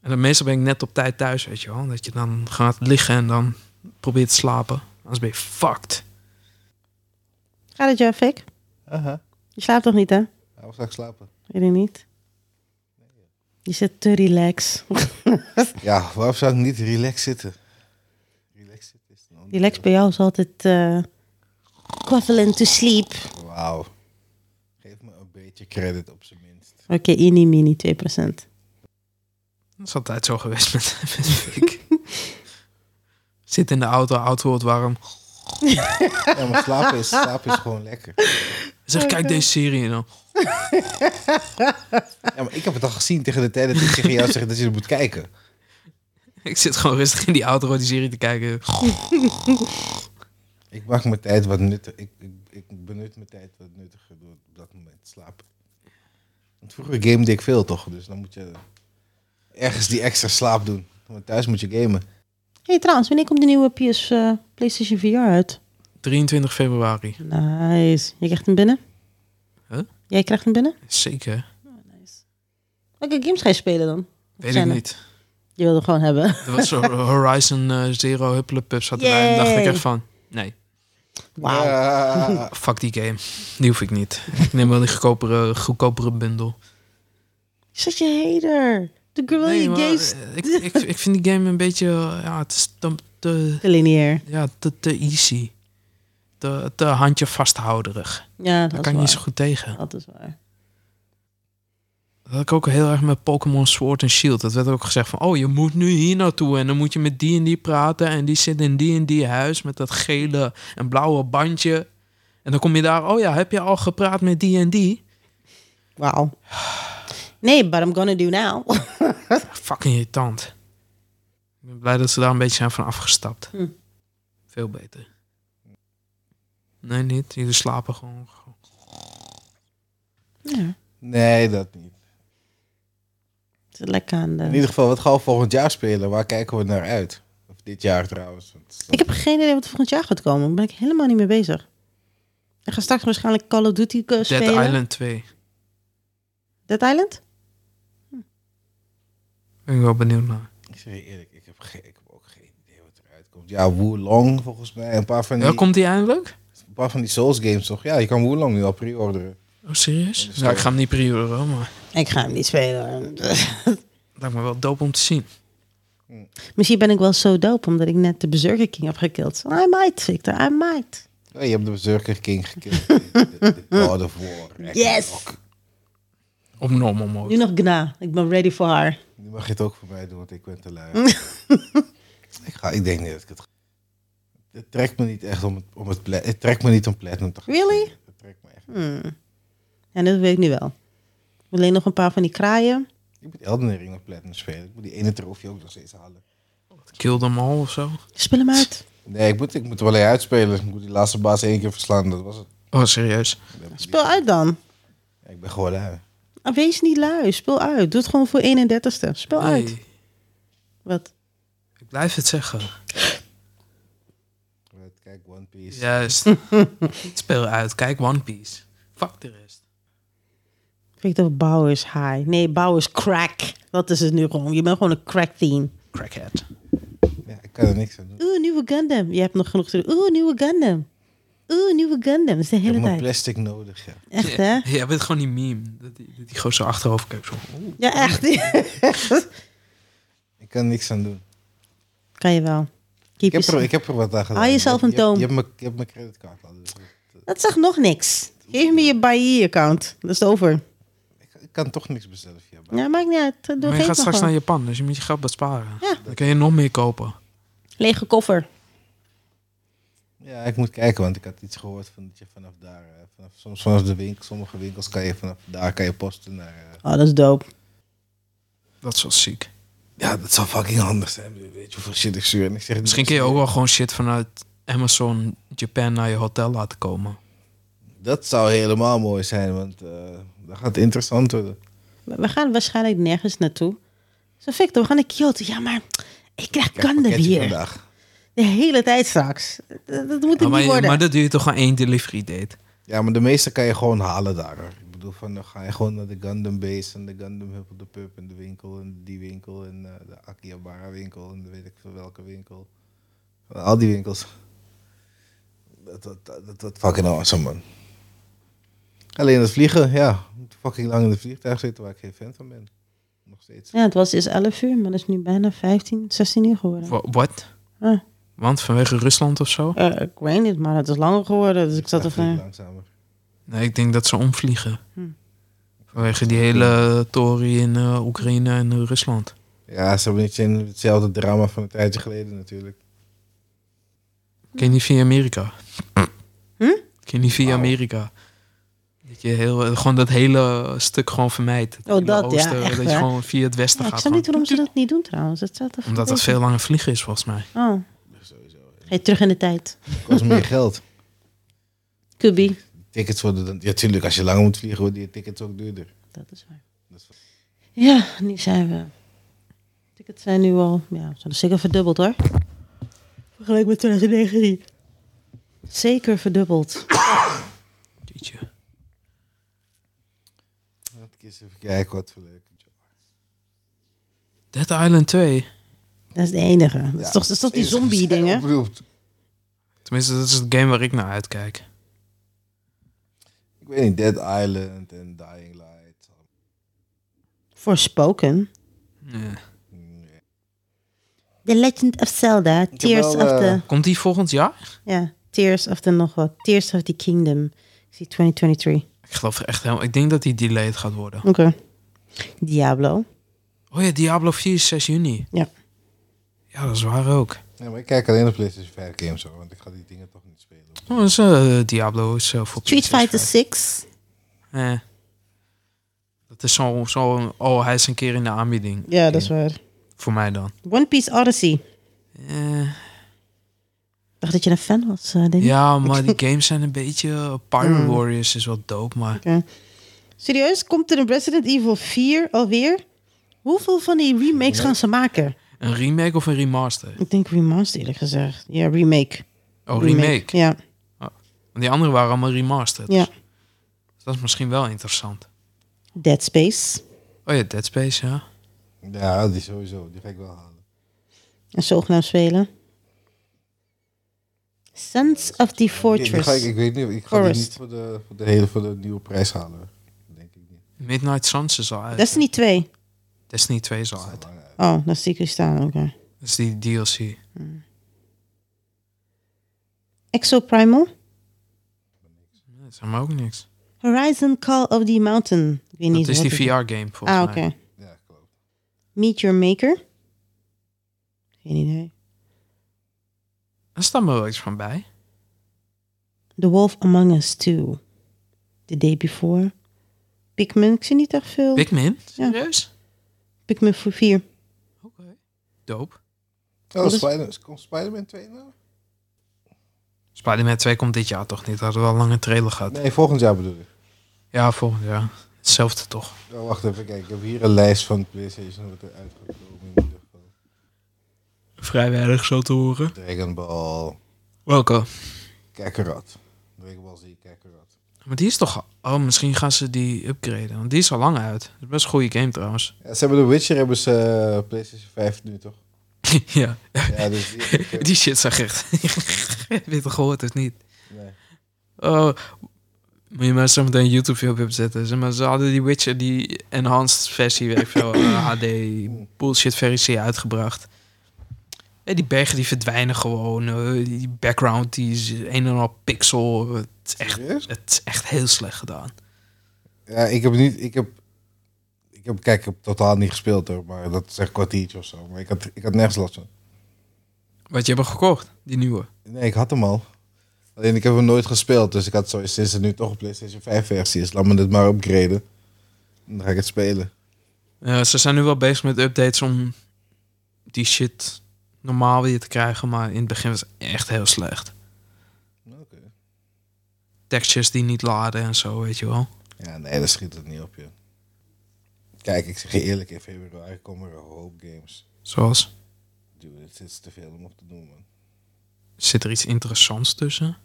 B: En dan meestal ben ik net op tijd thuis, weet je wel. Dat je dan gaat liggen en dan probeert te slapen. Anders ben je fucked.
A: Gaat het jou, Fik?
B: Uh-huh.
C: Aha.
A: Je slaapt toch niet, hè?
C: Ja, waar zou ik slapen?
A: Weet ik niet. Je zit te relax.
C: Ja, waarom zou ik niet relax zitten? Relax zitten is dan...
A: Relax bij jou is altijd eh equivalent to sleep.
C: Wauw. Geef me een beetje credit op zijn minst.
A: Oké, ini mini 2%.
B: Dat is altijd zo geweest met, met Fik. Zit in de auto, auto wordt warm.
C: Ja, maar slapen is, slapen is gewoon lekker.
A: Oh,
B: Zeg, kijk deze serie dan.
C: Ja, maar ik heb het al gezien tegen de tijd dat ik tegen jou zeg dat je het moet kijken.
B: Ik zit gewoon rustig in die auto die serie te kijken.
C: Ik maak mijn tijd wat nuttig. Ik, ik, ik benut mijn tijd wat nuttiger door op dat moment te slapen. Want vroeger gamede ik veel toch, dus dan moet je ergens die extra slaap doen. Want thuis moet je gamen.
A: hey, trouwens, wanneer komt de nieuwe PS eh, PlayStation VR uit?
B: 23 februari.
A: Nice. Je krijgt hem binnen?
B: Huh?
A: Jij krijgt hem binnen?
B: Zeker.
A: Welke games ga je spelen dan? Of
B: Weet
A: zijn
B: ik
A: er-
B: niet.
A: Je wilde gewoon hebben.
B: Er was zo Horizon eh, Zero Huppelepup zat erbij. En dacht ik
A: Yay.
B: echt van, nee,
A: Wauw.
C: Ja.
B: fuck die game. Die hoef ik niet. Ik neem wel die goedkopere, goedkopere bundel.
A: Zet je hater. De girl
B: Nee,
A: je
B: maar,
A: games.
B: eh, ik, ik, ik vind die game een beetje, eh, ja, het is te, te-
A: Te lineair.
B: ja, te, te easy. Te, te handje vasthouderig.
A: Ja, dat
B: Daar
A: is
B: kan je
A: waar.
B: niet zo goed tegen.
A: Dat is waar.
B: Dat had ik ook heel erg met Pokémon Sword en Shield. Dat werd ook gezegd van, oh, je moet nu hier naartoe. En dan moet je met die en die praten. En die zit in die en die huis met dat gele en blauwe bandje. En dan kom je daar, oh ja, heb je al gepraat met die en die?
A: Wauw. Nee, but I'm gonna do now.
B: Fucking irritant. Ik ben blij dat ze daar een beetje zijn van afgestapt.
A: Hm.
B: Veel beter. Nee, niet. Jullie slapen gewoon.
A: ja,
C: nee, dat niet.
A: het zit lekker aan
C: In
A: de...
C: ieder geval, wat gaan we volgend jaar spelen? Waar kijken we naar uit? Of dit jaar trouwens. want-
A: Ik heb geen idee wat volgend jaar gaat komen. Daar ben ik helemaal niet mee bezig. Ik ga straks waarschijnlijk Call of Duty eh, spelen.
B: Dead Island 2.
A: Dead Island?
B: Ben ik wel benieuwd naar.
C: Ik zeg je eerlijk, ik heb, geen, ik heb ook geen idee wat eruit komt. Ja, Wulong volgens mij. Een paar van die,
B: Ja, Oh, komt die eindelijk?
C: een paar van die Souls games toch? Ja, je kan Wulong nu al pre-orderen.
B: Oh, serieus?
C: is
B: Ja, ik
C: toch-
B: ga hem niet pre-orderen, maar...
A: Ik ga hem niet spelen.
B: Lijkt me wel dope om te zien.
A: Misschien ben ik wel zo dope omdat ik net de Berserker King heb gekild. I might, Victor. I might.
C: Oh, je hebt de Berserker King gekild. De- de- de God of War. Ragnarok.
A: Yes!
B: Op normal mode.
A: Nu nog Gna. Ik ben ready voor haar.
C: Nu mag je het ook voor mij doen, want ik ben te lui. ik, ga, ik denk niet dat ik het... ga- Het trekt me niet echt om het, om het, pla- het trekt me niet om platinum te gaan
A: Really?
C: spelen. Het trekt me echt. niet.
A: En Hmm. dat weet ik nu wel. Alleen nog een paar van die kraaien.
C: Ik moet Elden Ring op platinum spelen. Ik moet die ene trofee ook nog steeds halen.
B: Kill them all of zo.
A: Speel hem uit.
C: Nee, ik moet, ik moet er wel een uitspelen. Ik moet die laatste baas één keer verslaan. Dat was het.
B: Oh, serieus.
A: Speel uit dan.
C: Ja, ik ben gewoon lui.
A: Ah, Wees niet lui. Speel uit. Doe het gewoon voor 31ste. Speel uit.
B: Nee,
A: Wat?
B: ik blijf het zeggen.
C: Right, Kijk, One Piece.
B: Juist. Niet Speel uit. Kijk One Piece. Fuck de rest.
A: Victor Bouwers high. Nee, Bouwers crack. Dat is het nu gewoon. Je bent gewoon een crack teen.
B: Crackhead.
C: Ja, ik kan er niks aan doen.
A: Oeh, nieuwe Gundam. Je hebt nog genoeg te doen. Oeh, nieuwe Gundam. Oeh, nieuwe Gundam. Dat is de
C: Ik
A: hele
C: heb mijn
A: tijd.
C: plastic nodig. Ja.
A: Echt, hè?
B: Ja, Jij bent gewoon die meme. Dat die, dat die gozer zo achterover kijkt. Zo. Oeh.
A: Ja, echt.
C: Ik kan er niks aan doen.
A: kan je wel.
C: Ik
A: Keep
C: heb, er,
A: yourself-
C: ik heb er wat aan gedaan.
A: Haal jezelf een
C: Je hebt-
A: toom.
C: Je hebt mijn- je hebt mijn creditcard al. Dus
A: Dat zegt nog niks. Geef me je Bailly-account. Dat is het over.
C: ik, ik kan toch niks bestellen via Bali.
A: Ja, maakt niet uit. Doe
B: Maar je
A: geef me
B: gaat straks
A: gewoon.
B: naar Japan, dus je moet je geld besparen.
A: Ja.
B: Dan kun je nog meer kopen.
A: Lege koffer.
C: Ja, ik moet kijken, want ik had iets gehoord van dat je vanaf daar, eh, vanaf, soms vanaf de winkel, sommige winkels kan je vanaf daar kan je posten naar. eh,
A: Oh, dat is dope.
B: Dat is wel ziek.
C: ja, dat zou fucking handig zijn. Weet je hoeveel shit ik stuur? En ik zeg,
B: Misschien kun je ook wel gewoon shit vanuit Amazon Japan naar je hotel laten komen.
C: Dat zou helemaal mooi zijn, want eh dat gaat interessant worden.
A: We we gaan waarschijnlijk nergens naartoe. Zo, Victor, we gaan naar Kyoto. Ja, maar ik krijg Gundam
C: pakketje
A: hier.
C: vandaag.
A: De hele tijd straks. Dat, dat moet
B: Ja,
A: het
B: maar,
A: niet
B: je-
A: worden.
B: maar dat duurt toch gewoon één delivery date.
C: Ja, maar de meeste kan je gewoon halen daar. hoor. Ik bedoel, van, dan ga je gewoon naar de Gundam Base en de Gundam Hub op de pub en de winkel en die winkel en eh, de Akihabara winkel en de weet ik veel welke winkel. Al die winkels. Dat dat, dat, dat, dat fucking awesome, man. Alleen het vliegen, ja. Je moet fucking lang in het vliegtuig zitten waar ik geen fan van ben. Nog steeds.
A: Ja, het was eerst 11 uur, maar dat is nu bijna 15, 16 uur geworden.
B: Wa- Wat?
A: Huh.
B: Want vanwege Rusland of zo?
A: Eh, ik weet niet, maar het is langer geworden. Dus ik zat er
C: Vlieg
A: van...
C: langzamer.
B: Nee, ik denk dat ze omvliegen.
A: Hm.
B: Vanwege die hele tory in eh, Oekraïne en eh, Rusland.
C: Ja, ze hebben niet zin in hetzelfde drama van een tijdje geleden natuurlijk.
B: Ken je niet via Amerika?
A: Hm?
B: Ken je niet via
C: Wauw.
B: Amerika? Dat je heel, eh, gewoon dat hele stuk gewoon vermijdt. Het
A: Oh,
B: hele
A: dat, ja, echt,
B: dat je
A: hè?
B: gewoon via het westen
A: Ja, ik
B: gaat.
A: snap niet
B: gewoon.
A: waarom ze dat niet doen trouwens. Dat staat er
B: Omdat dat veel langer vliegen is volgens mij.
A: Oh. Ga je terug in de tijd.
C: Kost meer geld.
A: Could be.
C: tickets worden dan... Ja, tuurlijk, als je langer moet vliegen, worden die tickets ook duurder.
A: Dat is waar.
C: Dat is-
A: Ja, nu zijn we Tickets zijn nu al, ja, zijn zeker verdubbeld hoor. Vergeleken met 2019. Zeker verdubbeld.
B: Jeetje.
C: Laat ik eens even kijken wat voor leuk.
B: Dead Island 2.
A: Dat is de enige. Dat is toch, dat is toch die zombie-dingen?
C: Oproept.
B: Tenminste, dat is het game waar ik naar uitkijk.
C: Ik weet niet, Dead Island en Dying Light.
A: Voor spoken.
B: Ja.
C: Nee.
A: The Legend of Zelda.
C: heb
A: Tears
C: wel,
A: of the...
C: eh,
B: Komt die volgend jaar?
A: Ja, Tears of the nog wat. Tears of the Kingdom. Ik zie 2023.
B: Ik geloof er echt helemaal... Ik denk dat die delayed gaat worden.
A: Oké. Diablo.
B: Oh ja, Diablo 4 is 6 juni.
A: Ja.
B: Ja, dat is waar ook.
C: Nee, maar ik kijk alleen de PlayStation 5 games hoor, want ik ga die dingen toch niet spelen.
B: Oh, dat is, eh, Diablo is zelf op
A: Street Fighter
B: 5.
A: 6.
B: Eh. Dat is zo'n... Zo, oh, hij is een keer in de aanbieding.
A: Ja, dat is waar.
B: Voor mij dan.
A: One Piece Odyssey. Ik
B: Eh,
A: dacht dat je een fan was, eh Danny.
B: ja, maar die games zijn een beetje... eh,
A: Mhm.
B: Pirate Warriors is wel dope, maar...
A: Serieus? Komt er een Resident Evil 4 alweer? Hoeveel van die remakes gaan ze maken?
B: Een remake of een remaster?
A: Ik denk remaster eerlijk gezegd. Ja, remake.
B: Oh, remake.
A: Ja,
B: Want die anderen waren allemaal remastered.
A: ja.
B: Dus dat is misschien wel interessant.
A: Dead Space.
B: Oh ja, Dead Space, ja.
C: Ja, die sowieso, die ga ik wel halen.
A: En zogenaamd spelen. Sons of the
C: Die- die
A: Fortress.
C: ga ik, ik weet niet, ik ga die
A: Forest.
C: niet voor de, voor de hele voor de nieuwe prijs halen. Denk ik niet.
B: Midnight Suns is al uit.
A: Destiny 2.
B: Destiny 2 is al uit.
C: Lang uit.
A: Oh, dat zie ik hier staan. Oké.
B: Dat is die DLC.
A: Exoprimal.
B: Dat is helemaal ook niks.
A: Horizon Call of the Mountain. Ik weet niet
B: Dat is
A: wat
B: die
A: het-
B: VR-game, volgens
A: Ah, oké.
B: mij.
C: Ja, klopt.
A: Meet Your Maker. Geen idee.
B: Daar staat me wel iets van bij.
A: The Wolf Among Us 2. The Day Before. Pikmin. Ik zie niet echt veel.
B: Pikmin?
A: Ja.
B: Serieus?
A: Pikmin 4.
B: Oké. Dope.
C: Oh,
A: Wat is-
C: Spider komt Spider-Man 2 nou?
B: Spider-Man 2 komt dit jaar toch niet? Hadden we al lang een trailer gehad.
C: Nee, volgend jaar bedoel ik.
B: Ja, volgend jaar. Hetzelfde toch.
C: Oh, wacht even, kijk, ik heb hier een lijst van PlayStation wat er uit gaat komen in ieder geval.
B: Vrij weinig zo te horen.
C: Dragon Ball,
B: Welke?
C: Kakarot. Dragon Ball Z, Kakarot.
B: Maar die is toch... Oh, misschien gaan ze die upgraden. Want die is al lang uit. Dat is best een goede game trouwens.
C: Ja, ze hebben de Witcher, hebben ze eh, PlayStation 5 nu toch?
B: ja.
C: Ja, dus die, ik heb-
B: Die shit zag echt... Heb je het al gehoord of niet?
C: nee.
B: Oh, moet je maar zo meteen een YouTube filmpje opzetten. Zeg maar, ze hadden die Witcher, die enhanced versie, weet ik veel, eh, HD bullshit versie uitgebracht. Ja, die bergen die verdwijnen gewoon. eh, die background die is een en al pixel. Het is echt,
C: Serieus?
B: het is echt heel slecht gedaan.
C: Ja, ik heb niet, ik heb, ik heb, kijk, ik heb totaal niet gespeeld hoor, maar dat is echt een kwartiertje of zo. Maar ik had, ik had nergens last van.
B: Wat je hebt hem gekocht, die nieuwe.
C: Nee, ik had hem al. Alleen ik heb hem nooit gespeeld, dus ik had zo sinds het nu toch een PlayStation 5 versie is, laat me dit maar upgraden. Dan ga ik het spelen.
B: Eh, ze zijn nu wel bezig met updates om die shit normaal weer te krijgen. Maar in het begin was het echt heel slecht.
C: Oké.
B: Textures die niet laden en zo, weet je wel.
C: Ja, nee, dat schiet het niet op je. Kijk, ik zeg je eerlijk, in februari komen er een hoop games.
B: Zoals...
C: Dude, het is te veel om op te doen, man.
B: Zit er iets interessants tussen?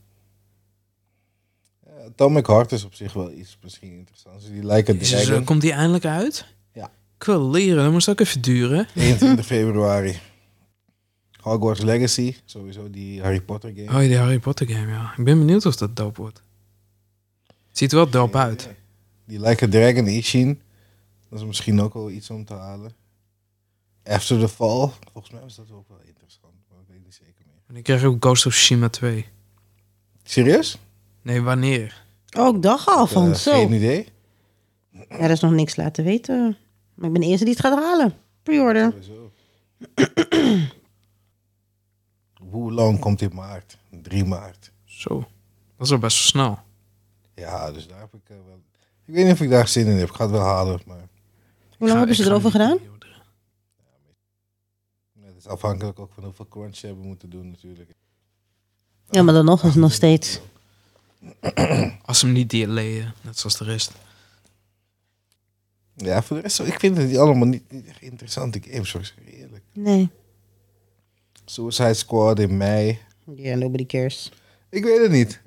C: Ja, Atomic Heart is op zich wel iets misschien interessants. Die lijken
B: Is er zo-
C: Dragon
B: komt die eindelijk uit?
C: Ja.
B: Ik wil leren, dat moest ook even duren.
C: 21 februari. Hogwarts Legacy, sowieso die Harry Potter game.
B: Oh, die Harry Potter game, ja. Ik ben benieuwd of dat dope wordt. Het ziet er wel dope uit.
C: Die lijken Dragon Ishin. Dat is misschien ook wel iets om te halen. After the Fall. Volgens mij was dat ook wel interessant, maar ik weet niet zeker meer.
B: En ik krijg ook Ghost of Tsushima 2.
C: Serieus?
B: Nee, wanneer?
A: Oh, ik dacht al van
C: Eh,
A: zo.
C: Geen idee.
A: Ja, er is nog niks laten weten. Maar ik ben de eerste die het gaat halen. Pre-order.
C: Sowieso. Hoe lang komt in maart? 3 maart.
B: Zo. Dat is al best wel snel.
C: Ja, dus daar heb ik eh, wel... Ik weet niet of ik daar zin in heb. Ik ga het wel halen, maar
A: Hoe lang hebben ze erover gedaan?
C: het is afhankelijk ook van hoeveel crunch ze hebben moeten doen natuurlijk.
A: Ja, maar dan nog is het nog steeds.
B: Als ze hem niet delayen, net zoals de rest.
C: Ja, voor de rest, ik vind het allemaal niet, niet echt interessante games, hoor. Zeg je eerlijk.
A: Nee.
C: Suicide Squad in mei.
A: Yeah, nobody cares.
C: Ik weet het niet.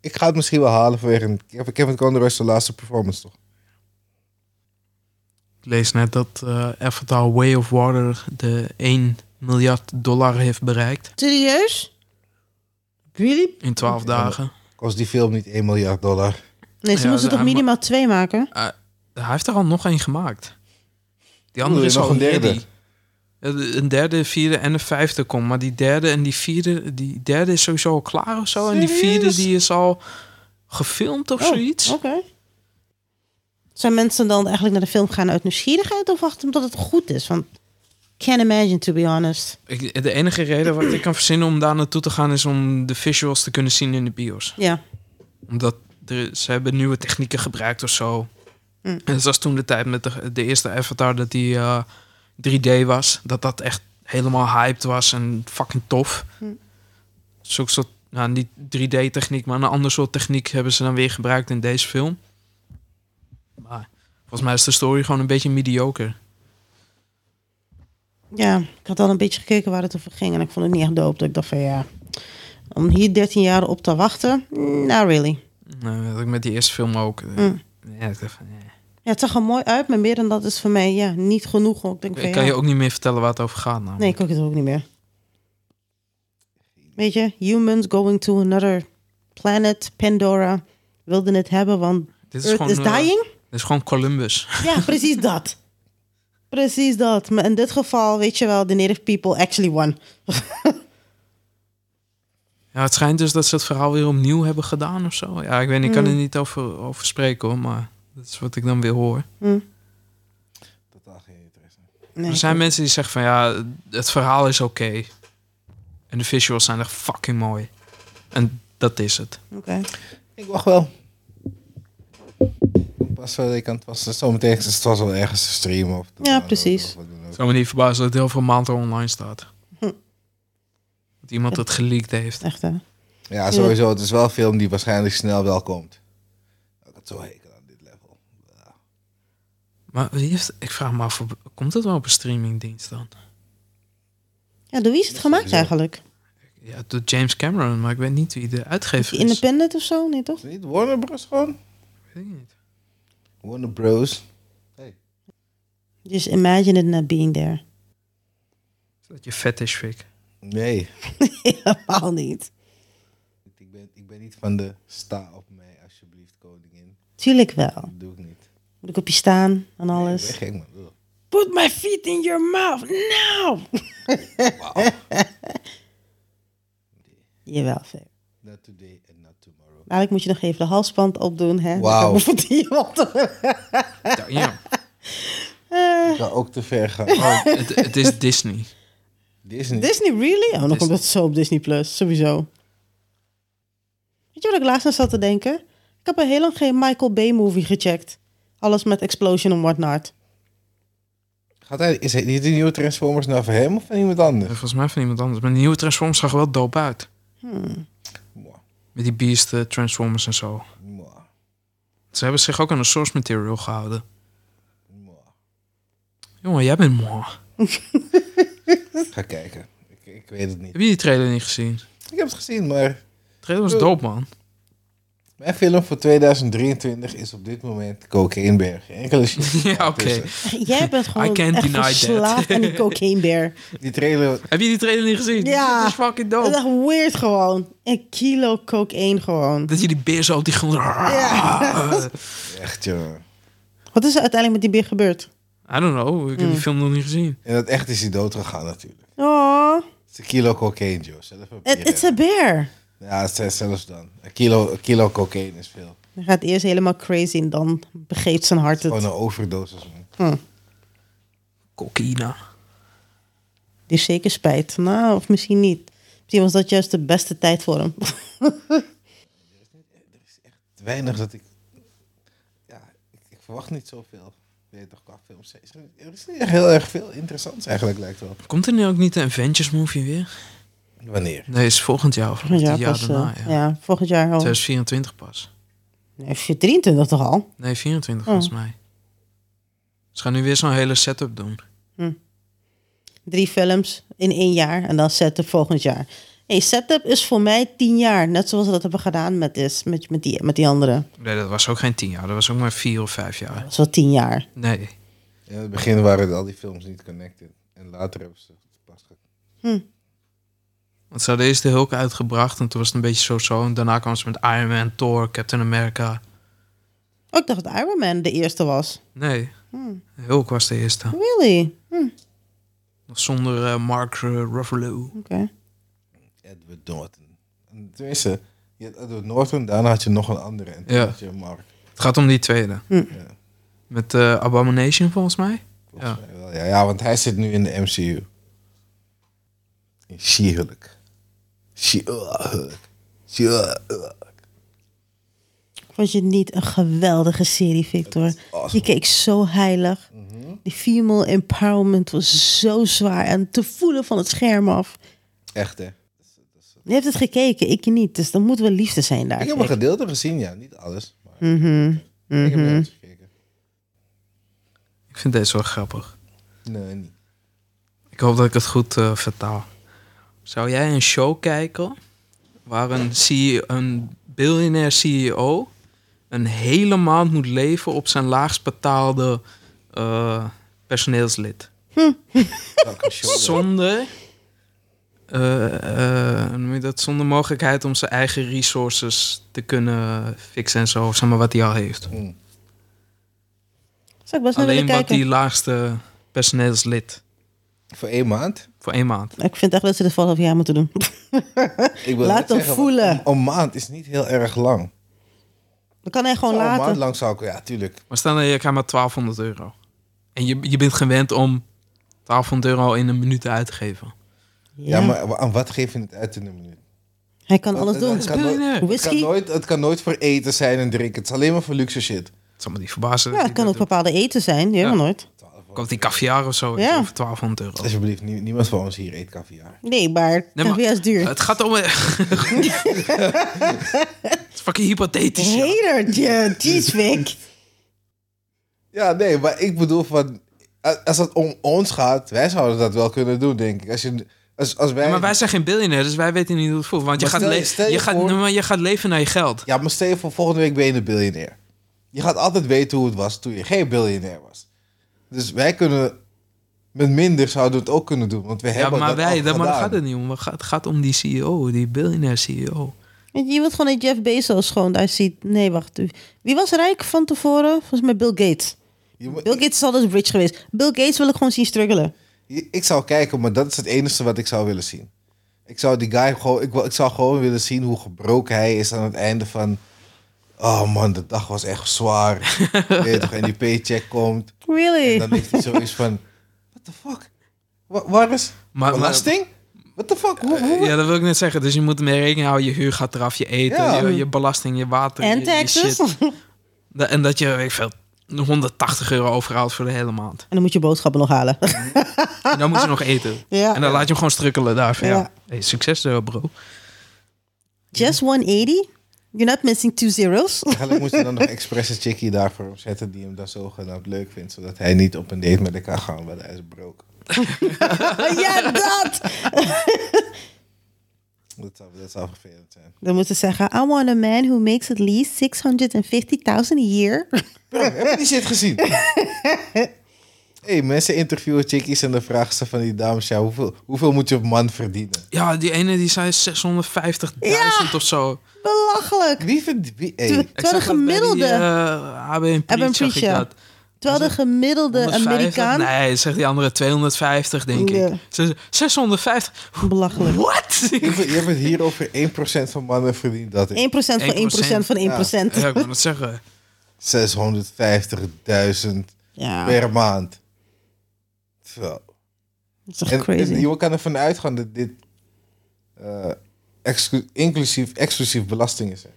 C: Ik ga het misschien wel halen vanwege een- Kevin- Kevin Conroy's de laatste performance, toch?
B: Ik lees net dat eh Avatar Way of Water de 1 miljard dollar heeft bereikt
A: Serieus? Really?
B: in 12 dagen.
C: Kost die film niet 1 miljard dollar?
A: Nee, ze
B: Ja,
A: moeten
B: ze-
A: toch
B: hij ma-
A: minimaal twee maken?
B: Eh, Hij heeft er al nog één gemaakt. Die
C: Oeh,
B: andere is
C: nog
B: al
C: een derde.
B: ready. Ja, de- Een derde, vierde en een vijfde komt. Maar die derde en die vierde, die derde is sowieso al klaar of zo. En die vierde
C: Serieus?
B: die is al gefilmd of
A: Oh,
B: zoiets.
A: Oké. Zijn mensen dan eigenlijk naar de film gaan uit nieuwsgierigheid of wachten omdat het goed is? Want can't imagine, to be honest.
B: Ik, de enige reden wat ik kan verzinnen om daar naartoe te gaan is om de visuals te kunnen zien in de bios.
A: Ja.
B: Omdat er, ze hebben nieuwe technieken gebruikt of zo.
A: Mm.
B: En zoals toen de tijd met de, de eerste Avatar dat die eh, 3D was. Dat dat echt helemaal hyped was en fucking tof.
A: Mm.
B: Zo'n soort, nou niet 3D techniek, maar een ander soort techniek hebben ze dan weer gebruikt in deze film. Maar volgens mij is de story gewoon een beetje mediocre.
A: Ja, ik had al een beetje gekeken waar het over ging en ik vond het niet echt doop. Dat ik dacht van ja, om hier 13 jaar op te wachten, mm, not really.
B: Nou, dat had ik met die eerste film ook. eh,
A: Mm.
B: ja, ik dacht van, eh.
A: Ja, het zag er mooi uit, maar meer dan dat is voor mij ja, niet genoeg. Ik denk van,
B: Ik kan
A: ja.
B: je ook niet meer vertellen waar het over gaat. Nou.
A: Nee, ik ook het ook niet meer. Weet je, humans going to another planet, Pandora, wilden het hebben, want
B: dit is
A: Earth
B: gewoon,
A: is
B: eh,
A: dying.
B: dit is gewoon Columbus.
A: Ja, precies dat. Precies dat. Maar in dit geval, weet je wel, the native people actually won.
B: Ja, het schijnt dus dat ze het verhaal weer opnieuw hebben gedaan of zo. Ja, ik weet niet, ik kan
A: Mm.
B: er niet over, over spreken hoor, maar dat is wat ik dan weer hoor.
C: Totaal geen interesse.
A: Hm. Nee,
B: er zijn mensen die zeggen van ja, het verhaal is oké. En de visuals zijn echt fucking mooi. En dat is het.
A: oké.
C: Ik wacht wel. Pas wel, ik kan het pas zometeen. Het was wel ergens te streamen of. te
A: Ja,
C: downloaden
A: precies.
C: of wat dan ook.
B: Ik zou me niet verbazen dat het heel veel maanden online staat.
A: Hm.
B: Dat iemand het geleakt heeft.
A: Echt hè.
C: Ja, sowieso. Het is wel een film die waarschijnlijk snel wel komt. Ik had zo hekel aan dit level.
B: Maar wie heeft, ik vraag me af, komt het wel op een streamingdienst dan?
A: Ja, door wie is het gemaakt
C: sowieso.
A: eigenlijk?
B: Ja, door James Cameron, maar ik weet niet wie de uitgever is.
A: Independent of zo? Nee, toch?
C: Is het niet Warner Bros. gewoon?
B: Weet ik niet.
C: Warner Bros.
A: Just imagine it not being there.
B: Is dat je fetish fik?
C: Nee.
A: Helemaal niet.
C: Ik ben, ik ben niet van de sta op mij, alsjeblieft, koningin.
A: Tuurlijk wel.
C: Dat doe ik niet.
A: Moet ik op je staan en
C: Nee, ik
A: alles.
C: ben gek, man. Ugh.
A: Put my feet in your mouth now! Jawel, Fer.
C: Not today and not tomorrow.
A: Dadelijk moet je nog even de halsband opdoen, hè? Dan
C: Wauw.
A: kan bijvoorbeeld iemand-
B: Ja,
C: Ik ga ook te ver gaan. Oh,
B: het, het is Disney.
C: Disney.
A: Disney, really? Oh, dan
B: Disney.
A: komt dat zo op Disney Plus, sowieso. Weet je wat ik laatst aan zat te denken? Ik heb al heel lang geen Michael Bay movie gecheckt. Alles met explosion en whatnot.
C: Gaat hij, is hij niet de nieuwe Transformers nou van hem of van iemand anders?
B: Eh, Volgens mij van iemand anders. Maar de nieuwe Transformers zag er wel dope uit.
C: Mwah,
B: Met die Beast eh, Transformers en zo.
C: mwah,
B: Ze hebben zich ook aan de source material gehouden.
C: mwah.
B: Jongen, jij bent mooi.
C: Ga kijken. Ik, ik weet het niet.
B: Heb je die trailer niet gezien?
C: Ik heb het gezien, maar
B: De trailer was dope, man.
C: mijn film voor 2023 is op dit moment Cocaïneberg. Enkele shit.
B: Ja, oké.
C: tussen.
A: Jij bent gewoon
B: can't
A: echt
B: deny that.
A: verslaafd aan die cocaine bear.
C: Die trailer,
B: Heb je die trailer niet gezien?
A: Ja.
B: Dat is fucking
A: Dat is
B: dope.
A: echt weird gewoon. Een kilo cocaine gewoon.
B: Dat je die beer zo op die grond...
C: echt joh.
A: Wat is er uiteindelijk met die beer gebeurd?
B: I don't know. Ik heb
A: Mm.
B: die film nog niet gezien.
C: En dat echt is hij dood gegaan natuurlijk.
A: Oh,
C: Het is een kilo cocaïne, joh. Zelf een
A: it-
C: bier
A: it's a
C: hebben.
A: bear.
C: Ja, ze- zelfs dan. Een kilo, een kilo cocaïne is veel.
A: Hij gaat eerst helemaal crazy en dan begeeft zijn hart
B: Oh,
C: Gewoon
A: het.
C: een overdosis, man.
B: Cocaïna.
A: Die heeft zeker spijt. Nou, of misschien niet. Misschien was dat juist de beste tijd voor hem.
C: Weinig dat ik... Ja, ik, ik verwacht niet zoveel. Je Weet toch, qua films. Er is niet- Er is niet echt heel erg veel interessants eigenlijk, lijkt wel.
B: Komt er nu ook niet een Avengers movie weer?
C: Wanneer?
B: Nee, is volgend jaar of
A: Volgend jaar
B: het jaar
A: pas,
B: daarna.
A: eh,
B: ja.
A: ja. volgend jaar al.
B: 2024 pas.
A: Nee, is je 23 toch al? Oh.
B: Nee, 24 volgens mij. Ze gaan nu weer zo'n hele setup doen.
A: Drie films in één jaar en dan setup volgend jaar. Hey, setup is voor mij tien jaar. Net zoals we dat hebben gedaan met, is, met, met, die, met die andere.
B: Nee, dat was ook geen tien jaar. Dat was ook maar vier of vijf
A: Dat
B: jaar.
A: was wel tien jaar.
B: Nee.
C: In het begin waren al die films niet connected. En later hebben ze het pas ge-
B: Want ze hadden eerst de Hulk uitgebracht. En toen was het een beetje zo-zo. En daarna kwamen ze met Iron Man, Thor, Captain America.
A: Oh, ik dacht dat Iron Man de eerste was.
B: Nee.
A: Hmm.
B: Hulk was de eerste.
A: Really? Hm,
B: Nog zonder eh, Mark eh, Ruffalo.
A: Oké.
C: Edward Norton. En tenminste, je had Edward Norton, daarna had je nog een andere. En toen
B: Ja.
C: had je Mark.
B: Het gaat om die tweede.
C: Ja,
B: Met eh, Abomination volgens mij.
C: volgens
B: Ja.
C: mij wel. eh, Ja, ja, want hij zit nu in de MCU. In She-Hulk. She-Hulk. She-Hulk.
A: Vond je het niet een geweldige serie, Victor? Je
C: Awesome. Mhm.
A: keek zo heilig. Die female empowerment was zo zwaar en te voelen van het scherm af.
C: Echt, hè?
A: Je hebt het gekeken, ik niet. Dus dan moet wel liefde zijn daar.
C: Ik heb een
A: Vic.
C: gedeelte gezien, ja. Niet alles. Maar
A: Mhm.
C: ik heb ergens gekeken.
B: Ik vind deze wel grappig.
C: Nee, niet.
B: Ik hoop dat ik het goed eh, vertaal. Zou jij een show kijken waar een, CEO, een biljonair CEO een hele maand moet leven op zijn laagst betaalde eh, personeelslid?
C: Welke show dan?
B: Zonder, eh, eh, hoe noem je dat, zonder mogelijkheid om zijn eigen resources te kunnen fixen en zo, of zeg maar wat hij al heeft.
C: Mm.
A: Zou ik best wel willen
B: Alleen wat
A: kijken.
B: die laagste personeelslid
C: Voor één maand?
B: voor één maand.
A: Ik vind echt dat ze het half jaar moeten doen.
C: Ik wil net
A: Laat hem
C: zeggen,
A: voelen.
C: Een maand is niet heel erg lang.
A: Dan kan hij gewoon
C: Zou Een maand
A: laten.
C: lang zou ik, ja, tuurlijk.
B: Maar stel dat je krijgt maar 1200 euro. En je, je bent gewend om 1200 euro in een minuut uit te geven.
C: Ja,
A: Ja.
C: maar wa- aan wat geef je het uit in een minuut?
A: Hij kan alles
C: Want
A: doen.
C: Het,
B: Hij
C: kan nooit,
B: Biljonair.
C: het, kan
A: Whisky?
C: nooit, het kan nooit voor eten zijn en drinken. Het is alleen maar voor luxe shit.
B: Het zal me niet verbazen.
A: Ja, het kan ook bepaalde eten zijn. Je weet maar nooit.
B: Komt die caviar of zo weet je
A: Ja.
B: wel, voor 1200 euro.
C: Alsjeblieft, nie- niemand van ons hier eet caviar.
A: Nee, maar
B: maar-
A: caviar is duur.
B: Het gaat om... het is fucking hypothetisch. ja.
A: Hatertje, jeez Vic.
C: Ja, nee, maar ik bedoel van... a- Als het om ons gaat, wij zouden dat wel kunnen doen, denk ik. Als je, als, als wij,
B: Ja, maar wij zijn geen biljonair, dus wij weten niet hoe het voelt. Want je
C: Maar
B: gaat,
C: stel je-
B: le-
C: stel je
B: je, gaat,
C: voor-
B: nee, maar je gaat leven naar je geld.
C: Ja, maar stel je voor, volgende week ben je een biljonair. Je gaat altijd weten hoe het was toen je geen biljonair was. Dus wij kunnen... Met minder zouden we het ook kunnen doen, want we
B: Ja,
C: hebben
B: maar
C: dat
B: wij,
C: al
B: daar, maar daar
C: gedaan.
B: gaat het niet om. Het gaat, het gaat om die CEO, die biljonair E CEO.
A: Want Je wilt gewoon dat Jeff Bezos gewoon daar ziet. Nee, wacht. Wie was rijk van tevoren? Volgens mij Bill Gates.
C: Je moet-
A: Bill Gates is altijd rich geweest. Bill Gates wil ik gewoon zien struggelen.
C: I- Ik zou kijken, maar dat is het enige wat ik zou willen zien. Ik zou die guy gewoon, ik, wil- ik zou gewoon willen zien hoe gebroken hij is aan het einde van. Oh man, de dag was echt zwaar. Weet je toch, en die paycheck komt. En dan
A: Really?
C: heeft hij zoiets van: What the fuck? Wa- waar is.
B: Maar-
C: belasting? What the fuck? Hoe, hoe-
B: Ja, dat wil ik net zeggen. Dus je moet ermee rekening houden. Je huur gaat eraf, je eten,
C: Ja.
B: je, je belasting, je water. je-
A: En
B: je
A: taxes.
B: shit.
A: En
B: Da- En dat je, weet ik veel, 180 euro overhoudt voor de hele maand.
A: dan moet je boodschappen nog halen.
B: En dan moet je nog eten.
A: Ja.
B: En dan laat je hem gewoon strukkelen daar. van, ja.
A: Ja.
B: Hey, succes eh, bro.
A: Just 180? You're not missing two zeros?
C: Eigenlijk moest je dan nog expres een chickie daarvoor opzetten die hem dan zogenaamd leuk vindt, zodat hij niet op een date met elkaar gaat, want hij is broke.
A: ja, dat!
C: Dat zou, dat zou vervelend zijn.
A: Dan moeten ze zeggen, I want a man who makes at least 650.000 a year.
C: Bro, heb je die shit gezien? hey, mensen interviewen chickies en dan vragen ze van die dames... Ja, hoeveel, hoeveel moet je op man verdienen?
B: Ja, die ene die zei 650.000 of zo.
A: Belachelijk!
C: Wie verdient... Wie, hey,
A: Terwijl
B: Ik
A: de
B: zag dat bij die,
A: gemiddelde,
B: eh, ABN
A: ABN
B: Priet zag ik
A: Priet, ja.
B: dat.
A: terwijl de gemiddelde
B: 150?
A: Amerikaan...
B: Nee, zegt die andere 250, denk ik.
A: Ja.
B: Ze- 650?
A: Belachelijk.
B: What?
C: je hebt- je hebt het hier over 1% van mannen verdient dat
A: 1% van 1% van 1%.
B: Ja, ik wil het zeggen.
C: is 650.000
A: Ja,
C: per maand. Zo.
A: dat is toch
C: En,
A: crazy.
C: en je kan ervan uitgaan dat dit... eh, exclu- inclusief, exclusief belasting is. hè.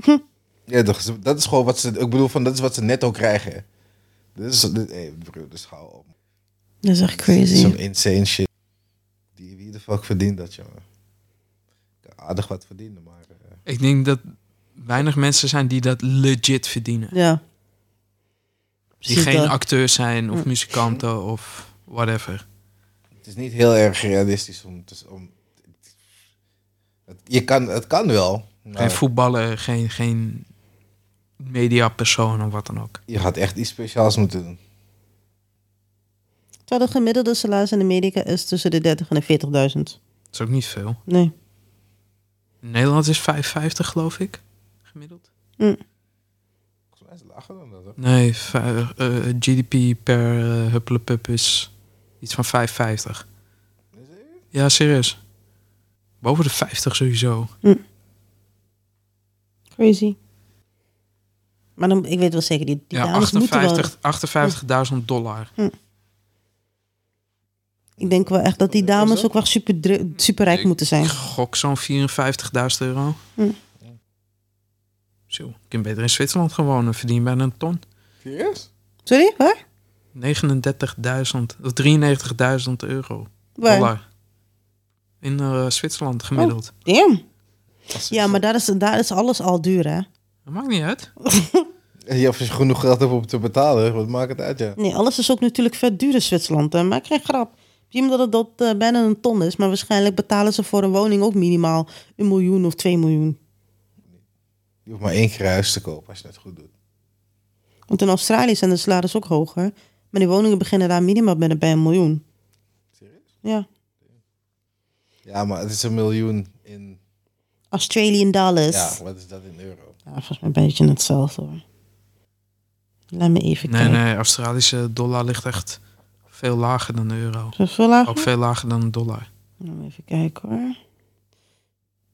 A: Hm.
C: Ja, toch, ze- dat is gewoon wat ze... Ik bedoel, van, dat is wat ze netto krijgen. hè. Dit is... Dit, hey, bro, dus hou op.
A: dat is echt
C: Zo'n
A: crazy.
C: insane shit. Die, wie de fuck verdient dat, jongen? Ik kan aardig wat verdienen, maar... eh,
B: Ik denk dat weinig mensen zijn die dat legit verdienen.
A: Ja.
B: Die
A: Precies
B: geen
A: dat.
B: acteurs zijn of
A: Hm.
B: muzikanten of whatever.
C: Het is niet heel erg realistisch om... te- om het, je kan, het kan wel.
B: Geen
C: Maar
B: voetballer, geen, geen mediapersoon of wat dan ook.
C: je had echt iets speciaals moeten doen.
A: Terwijl de gemiddelde salaris in Amerika is tussen de 30 en de 40.000.
B: Dat is ook niet veel.
A: Nee.
B: In Nederland is 55 geloof ik, gemiddeld.
C: Volgens mij is het lager dan dat, hoor.
B: Nee, vij- eh, GDP per uh, huppelepup is iets van 55.
C: Is het?
B: Ja, serieus. Boven de 50 sowieso.
A: Crazy. Maar dan, ik weet wel zeker, die, die
B: ja,
A: dames moeten wel...
B: 58 58.000 dollar.
A: Ik denk wel echt dat die
C: Wat was
A: dames
C: dat?
A: ook wel super, dru- superrijk
B: Ik-
A: moeten zijn.
B: Ik gok zo'n 54.000 euro.
A: Hm.
B: Zo, ik kan beter in Zwitserland gaan wonen. Verdien bijna een ton.
C: Serieus?
A: Sorry, waar?
B: 39.000 of 93.000 euro.
A: Waar? Oh.
B: Dollar. In eh, Zwitserland gemiddeld.
A: Damn.
C: Als je-
A: Ja, maar daar is, daar is alles al duur, hè?
B: Dat maakt niet uit.
C: Ja, of je genoeg geld hebt om te betalen, wat maakt het uit, ja.
A: Nee, alles is ook natuurlijk vet duur in Zwitserland. Hè? Maak geen grap. Misschien dat het dat eh, bijna een ton is, maar waarschijnlijk betalen ze voor een woning ook minimaal een miljoen of twee miljoen.
C: Je hoeft maar één keer huis te kopen als je het goed doet.
A: Want in Australië zijn de salarissen ook hoger. Maar die woningen beginnen daar minimaal bij, bij een miljoen.
C: Serieus?
A: Ja.
C: Ja, maar het is een miljoen in...
A: Australian dollars. Ja,
C: Ja, wat is dat in euro?
A: volgens mij een beetje hetzelfde hoor. Laat me even
B: Nee,
A: kijken.
B: nee, Australische dollar ligt echt veel lager dan de euro.
A: Is het veel lager?
B: Ook veel lager dan de dollar.
A: Laat me even kijken hoor.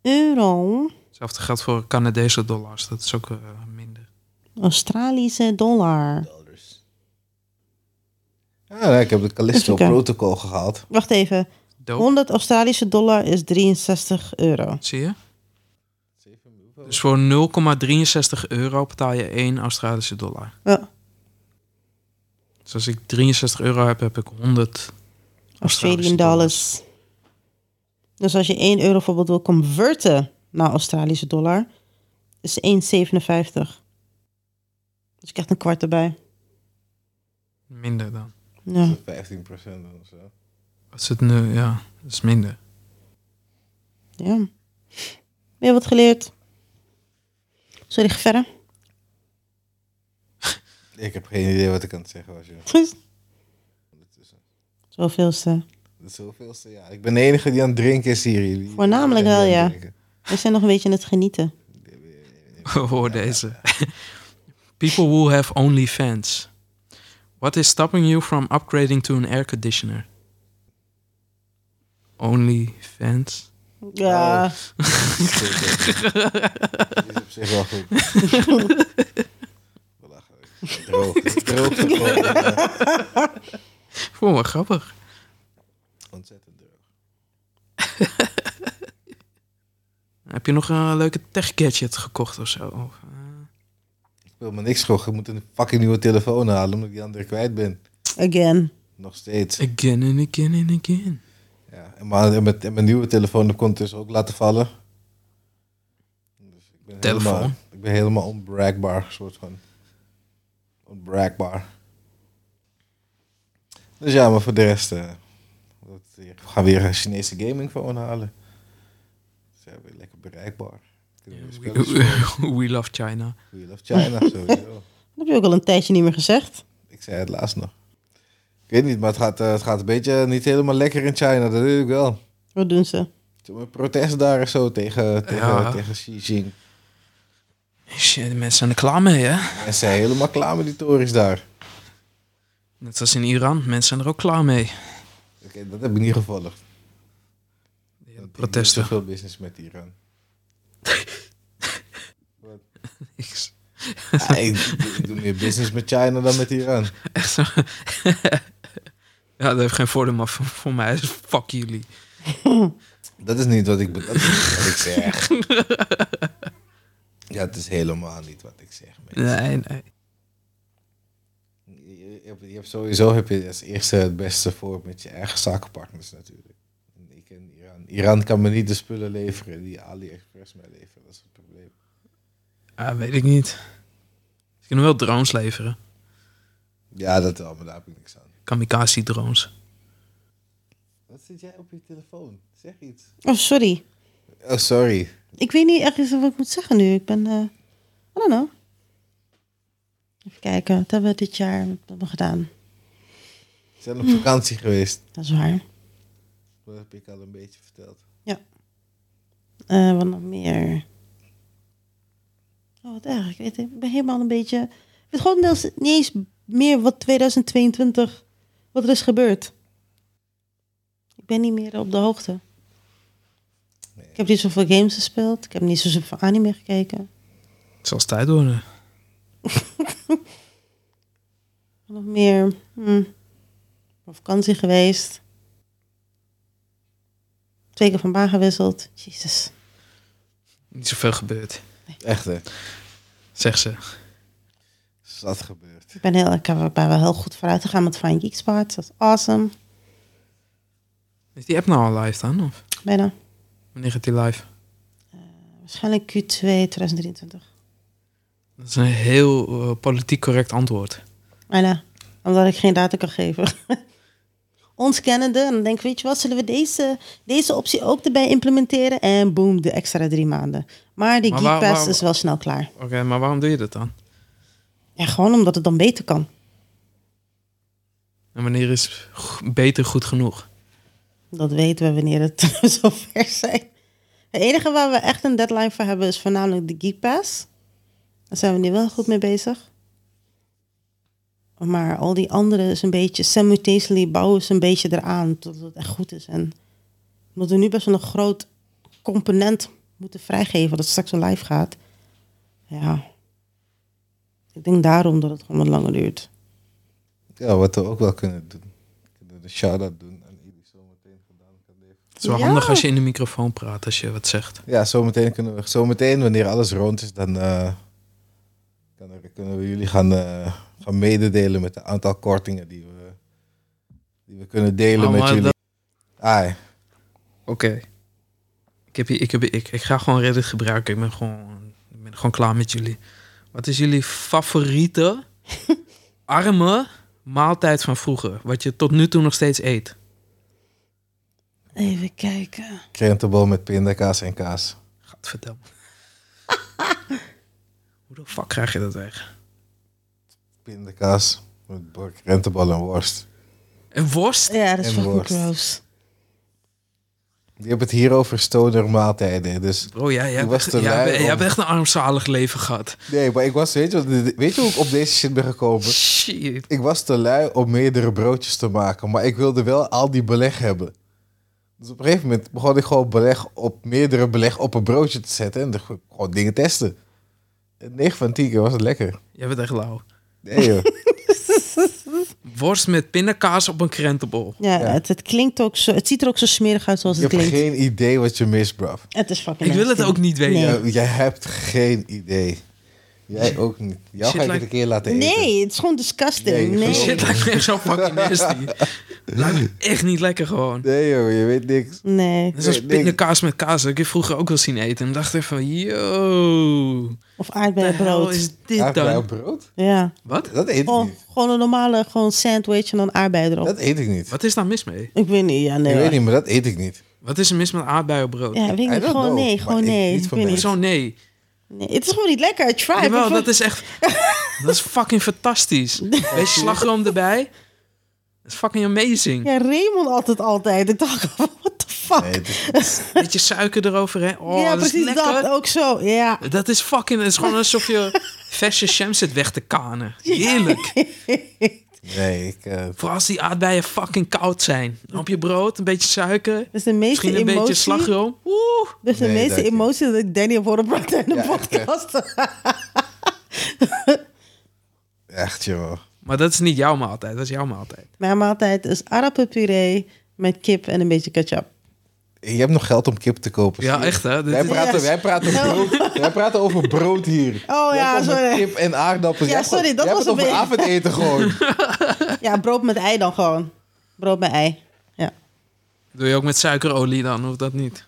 A: Euro.
B: Hetzelfde geldt voor Canadese dollars. Dat is ook eh, minder.
A: Australische dollar.
C: Dollars. Ja, nou, ik heb de Callisto
A: Even kijken.
C: Protocol gehaald.
A: Wacht even.
B: Dope,
A: 100 Australische dollar is 63 euro.
B: zie je? Dus voor 0,63 euro betaal je 1 Australische dollar.
A: Ja.
B: Dus als ik 63 euro heb, heb ik 100. Australische
A: Australian dollars. Dus als je 1 euro bijvoorbeeld wil converten naar Australische dollar, is 1,57. Dus ik krijg een kwart erbij.
B: Minder dan.
A: Ja.
C: 15 procent of zo.
B: Wat is het nu? Ja, dat is minder.
A: ja. Weer wat geleerd. Sorry, ga verder.
C: Ik heb geen idee wat ik aan het zeggen was, joh.
A: Zoveelste.
C: De zoveelste, ja. Ik ben de enige die aan het drinken is hier. Jullie-
A: Voornamelijk
C: jullie zijn
A: wel,
C: die aan
A: ja.
C: het drinken.
A: We zijn nog een beetje aan het genieten.
B: Hoor deze. People who have only fans. What is stopping you from upgrading to an air conditioner? Only fans?
A: Ja.
C: Oh. Die is op zich wel goed. We lachen. Droog. Droog. gewoon.
B: Vond ik wel grappig.
C: Ontzettend droog.
B: Heb je nog een leuke tech gadget gekocht of zo? Of, eh,
C: Ik wil me niks schokken. Ik moet een fucking nieuwe telefoon halen omdat ik die andere kwijt ben.
A: Again.
C: Nog steeds.
B: Again and again and again.
C: Ja, en maar en met, en mijn nieuwe telefoon heb ik ondertussen ook laten vallen. Dus ik ben
B: Telefoon?
C: Helemaal, ik ben helemaal onbraakbaar, soort van. Onbraakbaar. Dus ja, maar voor de rest... eh, dat, we gaan weer een Chinese gaming phone halen. Ze zijn weer lekker bereikbaar. Kunnen we weer spelletjes spelen.
B: We, we love China.
C: We love China, sowieso.
A: Dat heb je ook al een tijdje niet meer gezegd.
C: Ik zei het laatst nog. Ik weet niet, maar het gaat, eh, het gaat een beetje niet helemaal lekker in China, dat weet ik wel.
A: Wat doen ze?
C: Toen een protest daar en zo tegen, tegen,
B: Ja.
C: tegen Xi Jinping.
B: Shit, de mensen zijn er klaar mee, hè?
C: En ze zijn helemaal klaar met die Tories daar.
B: Net als in Iran, mensen zijn er ook klaar mee.
C: Oké, dat heb ik niet gevolgd.
B: Die
C: Ik heb
B: protesten.
C: niet zoveel business met Iran.
B: Niks.
C: Ah, ik, ik doe meer business met China dan met Iran.
B: Echt zo. ja, dat heeft geen voordeel, maar voor, voor mij is fuck jullie.
C: Dat is niet wat ik, be- dat is niet wat ik zeg. Ja, het is helemaal niet wat ik zeg. man.
B: Nee, nee.
C: Je, je hebt, je hebt sowieso heb je als eerste het beste voor met je eigen zakenpartners natuurlijk. En Ik ken Iran. Iran kan me niet de spullen leveren die AliExpress mij leveren. Dat is het probleem.
B: Ah, weet ik niet. Ze kunnen wel drones leveren.
C: Ja, dat wel, maar daar heb ik niks aan.
B: Kamikaze drones.
C: Wat zit jij op je telefoon? Zeg iets.
A: Oh, sorry.
C: Oh, sorry.
A: Ik weet niet echt wat ik moet zeggen nu. Ik ben, eh I don't know. Even kijken, wat hebben we dit jaar wat hebben we gedaan?
C: We zijn op vakantie geweest.
A: Dat is waar.
C: Dat heb ik al een beetje verteld.
A: Eh, wat nog meer? Oh, wat erg. Ik, weet, ik ben helemaal een beetje... Ik weet gewoon deels niet eens meer wat 2022... Wat er is gebeurd. Ik ben niet meer op de hoogte.
C: Nee.
A: Ik heb niet zoveel games gespeeld. Ik heb niet zoveel anime gekeken.
B: Het zal eens tijd worden.
A: Wat nog meer? Hm. Op vakantie geweest. Twee keer van baan gewisseld. Jezus.
B: Niet zoveel gebeurd,
C: Echt, hè?
B: zegt ze.
C: Is dat gebeurd?
A: Ik ben, heel, ik heb- ik ben wel heel goed vooruit gegaan met Fine Geek Spots. Dat is awesome.
B: Is die app nou al live dan? Of
A: Bijna.
B: wanneer gaat die live?
A: Waarschijnlijk Q2 2023.
B: Dat is een heel eh, politiek correct antwoord.
A: Bijna. Omdat ik geen data kan geven. Ons kennende. En dan denk ik, weet je wat, zullen we deze, deze optie ook erbij implementeren? En boom, de extra drie maanden. Maar die
B: Maar
A: Geek
B: waar-
A: Pass
B: waar-
A: is wel snel klaar.
B: Oké, maar waarom doe je dat dan?
A: Ja, gewoon omdat het dan beter kan.
B: En wanneer is g- beter goed genoeg?
A: Dat weten we wanneer het zover zijn. Het enige waar we echt een deadline voor hebben is voornamelijk de Geek Pass. Daar zijn we nu wel goed mee bezig. Maar al die andere is een beetje simultaneously bouwen ze een beetje eraan totdat het echt goed is. En omdat we nu best wel een groot component moeten vrijgeven dat straks wel live gaat. Ja. Ik denk daarom dat het gewoon wat langer duurt.
C: Ja, wat we ook wel kunnen doen. We kunnen een shout-out doen aan jullie zometeen gedaan kan even.
B: Het is wel
A: Ja.
B: handig als je in de microfoon praat, als je wat zegt.
C: Ja, zometeen kunnen we, zometeen wanneer alles rond is, dan eh, kan er- kunnen we jullie gaan, eh, gaan mededelen met het aantal kortingen die we, die we kunnen delen
B: Oh,
C: met
B: maar
C: jullie. Ah,
B: dat-
C: Ai,
B: Oké. Ik, heb hier- ik, heb hier- ik, ik ga gewoon Reddit gebruiken. Ik ben gewoon, ik ben gewoon klaar met jullie. Wat is jullie favoriete arme maaltijd van vroeger? Wat je tot nu toe nog steeds eet?
A: Even kijken.
C: krentenbol met pindakaas en kaas.
B: Gaat vertellen. Hoe de fuck krijg je dat weg?
C: Pindakaas met bo- krentenbol en worst.
B: Een worst?
A: Ja, dat
C: En
A: is fucking
C: worst.
A: gross.
C: Je hebt het hier over stoner maaltijden, dus...
B: Bro, jij, jij,
C: Ik was
B: hebt-
C: te
B: jij,
C: lui
B: hebt- jij
C: om-
B: hebt echt een armzalig leven gehad.
C: Nee, maar ik was... Weet je, wat- weet je hoe ik op deze shit ben gekomen?
B: Shit.
C: Ik was te lui om meerdere broodjes te maken, maar ik wilde wel al die beleg hebben. Dus op een gegeven moment begon ik gewoon beleg op meerdere beleg op een broodje te zetten en dan gewoon- gewoon dingen testen. En 9 van 10 keer was het lekker.
B: Jij bent echt lauw.
C: Nee joh.
B: Worst met pindakaas op een krentenbol.
A: Ja,
C: Ja.
A: Het, het klinkt ook zo. Het ziet er ook zo smerig uit zoals
C: je
A: het
C: hebt
A: klinkt.
C: geen idee wat je mist, bruv.
A: Het is fucking.
B: Ik wil het
A: nasty.
B: ook niet weten.
A: Nee.
C: Ja, jij hebt geen idee. Jij ook niet. Jou
B: Shit
C: ga ik het
B: lijkt-
C: een keer laten eten.
A: Nee, het is gewoon disgusting.
C: Nee,
A: Nee.
C: geloof
A: Nee.
B: Shit, lijkt me echt zo fucking nasty. Lijkt me echt niet lekker gewoon.
C: Nee joh, je weet niks.
B: Dat is als
C: Nee, nee.
B: pindakaas met kaas. Dat heb ik vroeger ook wel zien eten. En dacht even van, yo.
A: Of
B: de hel
A: aardbeienbrood.
B: is
C: Ja,
B: dit dan?
C: brood?
A: Ja.
B: Wat?
C: Dat eet ik
A: Gewoon,
C: niet.
A: gewoon een normale gewoon sandwich en dan aardbei erop.
C: Dat eet ik niet.
B: Wat is daar mis mee?
A: Ik weet niet. Ja, nee.
C: ik weet niet, maar dat eet ik niet.
B: Wat is er mis met aardbeienbrood?
A: Ja, weet ik
C: I
A: niet.
C: don't
A: Gewoon
C: know,
A: nee,
C: maar
A: gewoon
C: ik-
A: nee.
C: niet
A: Ik
C: van
A: weet
C: mij.
A: niet.
B: Zo, nee.
A: Nee, Het is gewoon niet lekker. Try. it.
B: Jawel,
A: Ik vond-
B: dat is echt... Dat is fucking fantastisch. Beetje slagroom erbij. Dat is fucking amazing.
A: Ja, Raymond altijd altijd. Ik dacht, what the fuck?
C: Nee, het is-
B: Beetje suiker eroverheen. Oh,
A: ja,
B: dat is
A: precies
B: lekker.
A: dat. Ook zo. Ja.
B: Dat is fucking... Het is gewoon alsof je verse sham zit weg te kanen. Heerlijk.
C: nee ik... eh,
B: Vooral als die aardbeien fucking koud zijn. Op je brood, een beetje suiker.
A: Dus de meeste
B: Misschien een beetje
A: emotie.
B: slagroom. Oeh.
A: Dus de
C: Nee,
A: meeste
C: dank je.
A: emotie dat ik Danny heb horen praten in de
C: Ja, echt, hè.
A: podcast.
C: Echt joh.
B: Maar dat is niet jouw maaltijd. Dat is jouw maaltijd.
A: Mijn maaltijd is aardappelpuree met kip en een beetje ketchup.
C: Je hebt nog geld om kip te kopen.
B: Ja,
C: zie je?
B: echt hè. Dit
C: Wij
B: is-
C: praten, wij, praten brood, wij praten over brood hier.
A: Oh
C: Jij
A: ja,
C: komt met
A: sorry.
C: Kip en aardappels.
A: Ja,
C: Jij hebt gewoon-
A: sorry, dat
C: jij hebt
A: was
C: het
A: een
C: over avondeten gewoon.
A: Ja, brood met ei dan gewoon. Brood met ei. Ja.
B: Doe je ook met suikerolie dan? Of dat niet?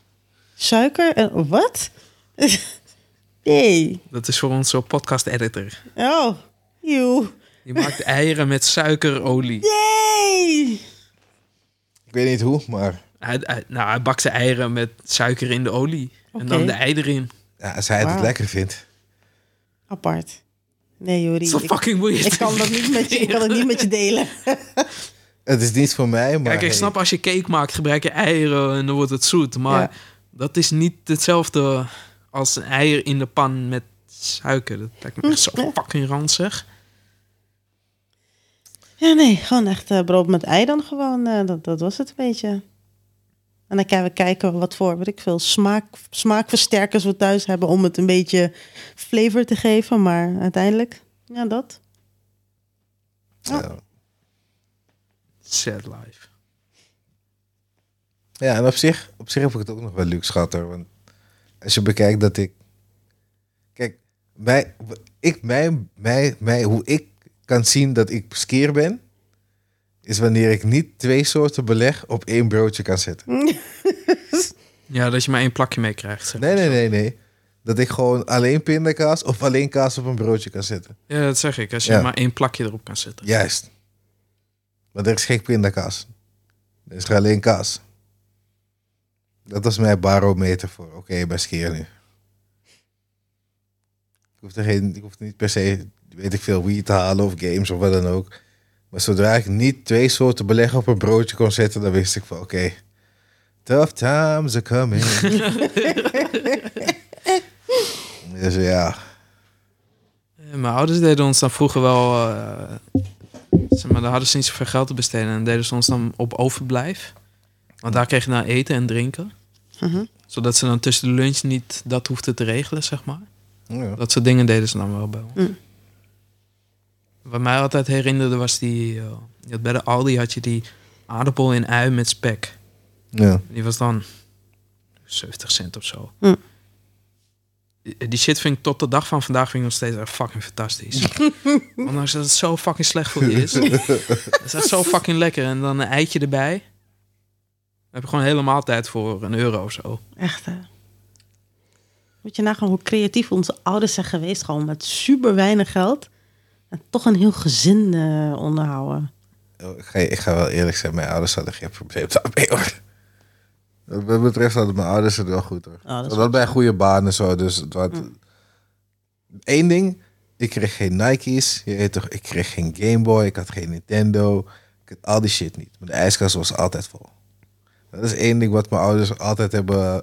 A: Suiker en wat? nee.
B: Dat is voor ons zo'n podcast-editor.
A: Oh, eeuw.
B: Je maakt eieren met suikerolie.
A: Yay!
C: Ik weet niet hoe, maar
B: Hij, hij- nou, hij bakt de eieren met suiker in de olie. En dan
A: Oké.
B: de ei erin.
C: ja, als hij het
A: Wauw.
C: lekker vindt.
A: Apart. Nee, Jori.
B: Zo
A: ik-
B: fucking weird.
A: Ik kan dat niet met je, ik kan het niet met je delen.
C: Het is niet voor mij, maar...
B: Kijk, ik
C: hey,
B: snap als je cake maakt, gebruik je eieren en dan wordt het zoet. Maar
A: Ja.
B: dat is niet hetzelfde als een eier in de pan met suiker. Dat lijkt me echt zo fucking ranzig.
A: Ja, nee, gewoon echt eh, brood met ei dan gewoon. eh, dat, dat was het een beetje. En dan gaan we kijken wat voor, weet ik veel, smaak, smaakversterkers we thuis hebben om het een beetje flavor te geven. Maar uiteindelijk, ja, dat.
C: ja.
B: Sad life.
C: Ja, en op zich, op zich heb ik het ook nog wel leuk, schatter. Want als je bekijkt dat ik. Kijk, mij, ik, mij, mij, mij, hoe ik kan zien dat ik skeer ben, is wanneer ik niet twee soorten beleg op één broodje kan zetten.
B: Ja, dat je maar één plakje mee krijgt. zeg.
C: Nee, nee, nee, nee. Dat ik gewoon alleen pindakaas of alleen kaas op een broodje kan zetten.
B: Ja, dat zeg ik. Als je
C: Ja.
B: maar één plakje erop kan zetten.
C: Juist. Want er is geen pindakaas. Er is alleen kaas. Dat was mijn barometer voor. Oké, bij ben skeer nu. Ik hoef, er geen, ik hoef niet per se, weet ik veel, wie te halen of games of wat dan ook. Maar zodra ik niet twee soorten beleg op een broodje kon zetten, dan wist ik van oké. tough times are coming. dus ja.
B: Eh, Mijn ouders deden ons dan vroeger wel... eh, zeg maar, daar hadden ze niet zoveel geld te besteden. En deden ze ons dan op overblijf. Want daar kreeg je dan eten en drinken.
A: Mhm.
B: Zodat ze dan tussen de lunch niet dat hoefden te regelen, zeg maar.
C: ja.
B: Dat soort dingen deden ze dan wel bij ons.
A: Mm.
B: Wat mij altijd herinnerde was die... eh, je had bij de Aldi had je die aardappel in ui met spek.
C: ja.
B: Die was dan 70 cent of zo.
C: Mm.
A: Hm.
B: Die die shit vind ik tot de dag van vandaag vind ik nog steeds echt fucking fantastisch. Ondanks dat het zo fucking slecht voor je is. het is echt zo fucking lekker. En dan een eitje erbij. Daar heb je gewoon helemaal tijd voor een euro of zo.
A: Echt, hè. Moet je nagaan hoe creatief onze ouders zijn geweest, gewoon met super weinig geld. En toch een heel gezin eh, onderhouden.
C: Oh, Ik ga, ik ga wel eerlijk zijn, mijn ouders hadden geen probleem daarmee hoor. Wat dat betreft hadden mijn ouders het wel goed hoor.
A: Oh, dat is Mm.
C: dat was bij goede banen zo, dus het was... Eén ding, ik kreeg geen Nike's, je weet toch, ik kreeg geen Game Boy, ik had geen Nintendo, ik had al die shit niet. Maar de ijskast was altijd vol. Dat is één ding wat mijn ouders altijd hebben...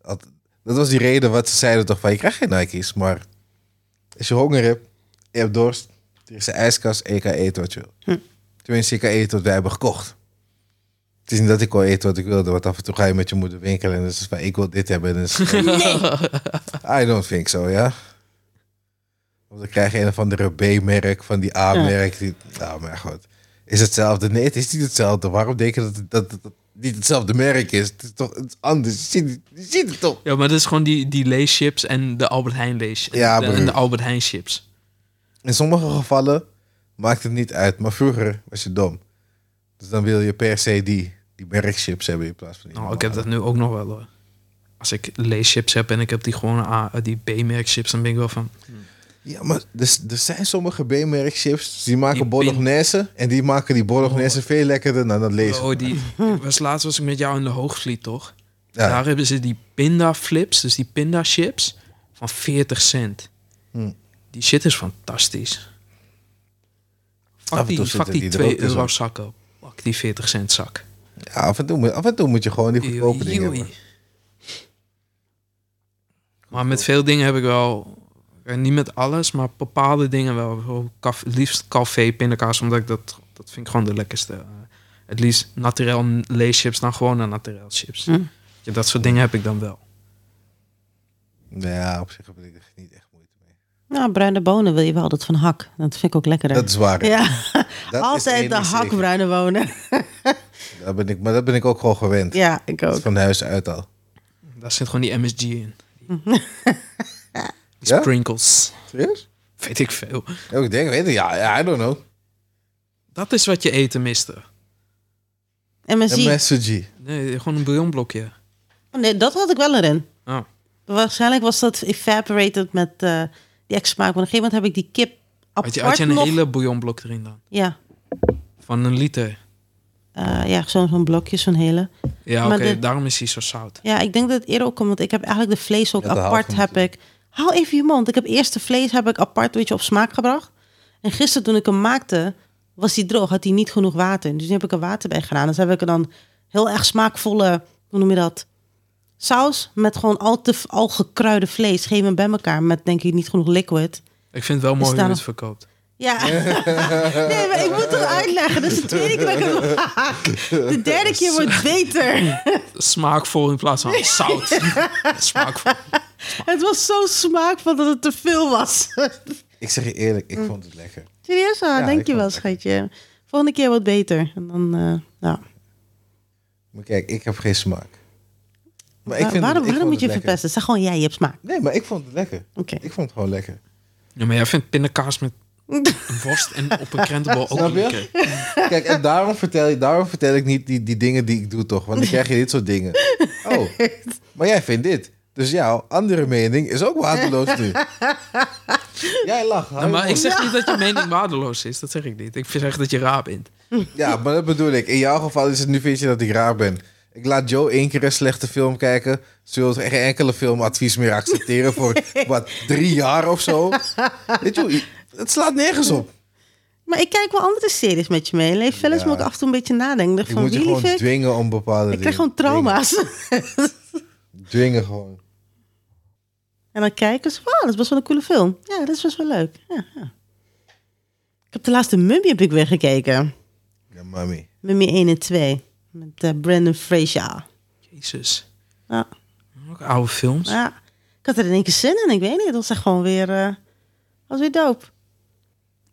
C: had- dat was die reden wat ze zeiden toch van, je krijgt geen Nike's, maar als je honger hebt, je hebt dorst, er is een ijskast en je kan eten wat je wil. Tenminste, ik kan eten wat wij hebben gekocht. Het is niet dat ik kon eten wat ik wilde, want af en toe ga je met je moeder winkelen en dan is het van, ik wil dit hebben. En dan is het van, I don't think so, ja. Of dan krijg je een of andere B-merk van die A-merk. Die, nou, maar goed. Is hetzelfde? Nee, het is niet hetzelfde. Waarom denk je dat het, dat het niet hetzelfde merk is? Het is toch iets anders? Je ziet, het- je ziet het toch?
B: Ja, maar dat is gewoon die, die leeschips en de Albert Heijn lees.
C: Ja,
B: de- en
C: broer.
B: de Albert Heijn chips.
C: In sommige gevallen maakt het niet uit, maar vroeger was je dom. Dus dan wil je per se die, die merkchips hebben in plaats van die.
B: Nou, ik heb
C: normale.
B: dat nu ook nog wel hoor. Als ik leeschips heb en ik heb die gewoon A, die B-merk chips, dan ben ik wel van...
C: Ja, maar er, er zijn sommige B-merk chips die maken
B: Die
C: bolognese en die maken die bolognese veel lekkerder dan dat lezen.
B: Oh, die ik was laatst was ik met jou in de hoogvliet, toch?
C: Ja.
B: Daar hebben ze die pinda flips, dus die pinda chips van 40 cent.
C: Hmm.
B: Die shit is fantastisch.
C: Af en
B: Fuck die,
C: toe
B: fuck
C: zitten
B: die
C: die er
B: 2
C: ook tussen.
B: euro zakken. Fuck die 40 cent zak.
C: Ja, af en, toe, moet- af en toe moet je gewoon die goedkope
B: Joei,
C: dingen
B: joei.
C: hebben.
B: Maar met veel dingen heb ik wel... eh, Niet met alles, maar bepaalde dingen wel. Bijvoorbeeld kaf- liefst café pindakaas, omdat ik dat... Dat vind ik gewoon de lekkerste. Eh, Het liefst naturel leeschips dan gewoon een naturel chips.
A: Hm.
B: Ja, dat soort dingen heb ik dan wel.
C: Ja, op zich heb ik er niet echt moeite mee.
A: Nou, bruine bonen wil je wel altijd van hak. Dat vind ik ook lekkerder.
C: Dat is waar.
A: ja,
C: Dat is
A: altijd
C: één
A: de
C: ding
A: hak
C: zeker.
A: bruine bonen.
C: Daar ben ik, maar dat ben ik ook gewoon gewend.
A: Ja, ik ook.
C: Van huis uit al.
B: Daar zit gewoon die MSG in.
A: Hm.
B: Die
C: Ja?
B: sprinkles.
C: Serieus?
B: Weet ik veel.
C: Ja, ik denk, weet je, ja, ja, I don't know.
B: Dat is wat je eten miste.
A: MSI.
C: MSG.
B: Nee, gewoon een bouillonblokje.
A: Oh, nee, dat had ik wel erin.
B: Oh.
A: Waarschijnlijk was dat evaporated met eh, die extra smaak. Want op een gegeven moment heb ik die kip
B: Had je, had je een
A: nog-
B: hele bouillonblok erin dan?
A: Ja,
B: Van een liter.
A: eh, ja zo'n zo'n blokje, zo'n hele.
B: Ja, oké,
A: Maar de-
B: daarom is hij zo zout.
A: Ja, ik denk dat het eerder ook komt, want ik heb eigenlijk de vlees ook
C: Met de halve
A: apart heb
C: natuurlijk.
A: ik. Hou even je mond. Ik heb eerst de vlees heb ik apart weet je, op smaak gebracht. En gisteren toen ik hem maakte, was die droog, had hij niet genoeg water. in. Dus nu heb ik er water bij gedaan. Dus heb ik er dan heel erg smaakvolle, hoe noem je dat? Saus met gewoon al te al gekruide vlees. Geef hem bij elkaar met denk ik niet genoeg liquid.
B: Ik vind het wel mooi hoe
A: daar
B: je het
A: nog-
B: verkoopt.
A: Ja, nee, maar ik moet het uitleggen. Dit is de tweede keer dat ik het maak. De derde keer wordt beter.
B: Smaakvol in plaats van zout. Smaakvol.
A: Het was zo smaakvol dat het te veel was.
C: Ik zeg je eerlijk, ik vond het lekker.
A: Serieus? Ah,
C: Ja, ik
A: denk je
C: vond
A: wel,
C: het
A: schatje. Volgende keer wat beter. En dan, eh, nou.
C: Maar kijk, ik heb geen smaak. Maar
A: Wa-
C: het-
A: waarom
C: vond
A: waarom moet
C: het
A: je
C: lekker.
A: verpesten? Zeg gewoon, jij je hebt smaak.
C: Nee, maar ik vond het lekker.
A: Oké.
C: Ik vond het gewoon lekker.
B: Ja, maar jij vindt pindakaas met een worst en op een krentenbol ook
C: Snap je?
B: lekker.
C: Kijk, en daarom vertel, ik- daarom vertel ik niet die, die dingen die ik doe, toch? Want dan krijg je dit soort dingen. Oh, maar jij vindt dit. Dus jouw andere mening is ook waardeloos nu. Jij lacht.
A: Nou,
C: hou
B: Nee,
C: je
B: maar ik
C: mond.
B: zeg niet dat je mening waardeloos is. Dat zeg ik niet. Ik zeg dat je raar bent.
C: Ja, maar dat bedoel ik. In jouw geval is het nu vind je dat ik raar ben. Ik laat Joe één keer een slechte film kijken. Ze wil geen enkele filmadvies meer accepteren voor wat drie jaar of zo. Weet je, hoe- het slaat nergens op.
A: Maar ik kijk wel andere series met je mee. Leef Fellas
C: Ja.
A: moet ik af en toe een beetje nadenken. Ik
C: Ik
A: dacht van,
C: moet je
A: wie lief
C: gewoon
A: ik?
C: dwingen om bepaalde dingen.
A: Ik krijg gewoon trauma's.
C: Dwingen, dwingen gewoon.
A: en dan kijken ze, wow, dat is best wel een coole film. Ja, dat is best wel leuk. Ja, ja. Ik heb de laatste Mummy heb ik weer gekeken.
C: Ja, mami.
A: Mummy 1 en 2. Met eh, Brandon Fraser.
B: Jezus.
A: Ja.
B: Ook oude films.
A: Ja, ik had er in één keer zin in. Ik weet niet, dat was echt gewoon weer... eh was weer dope.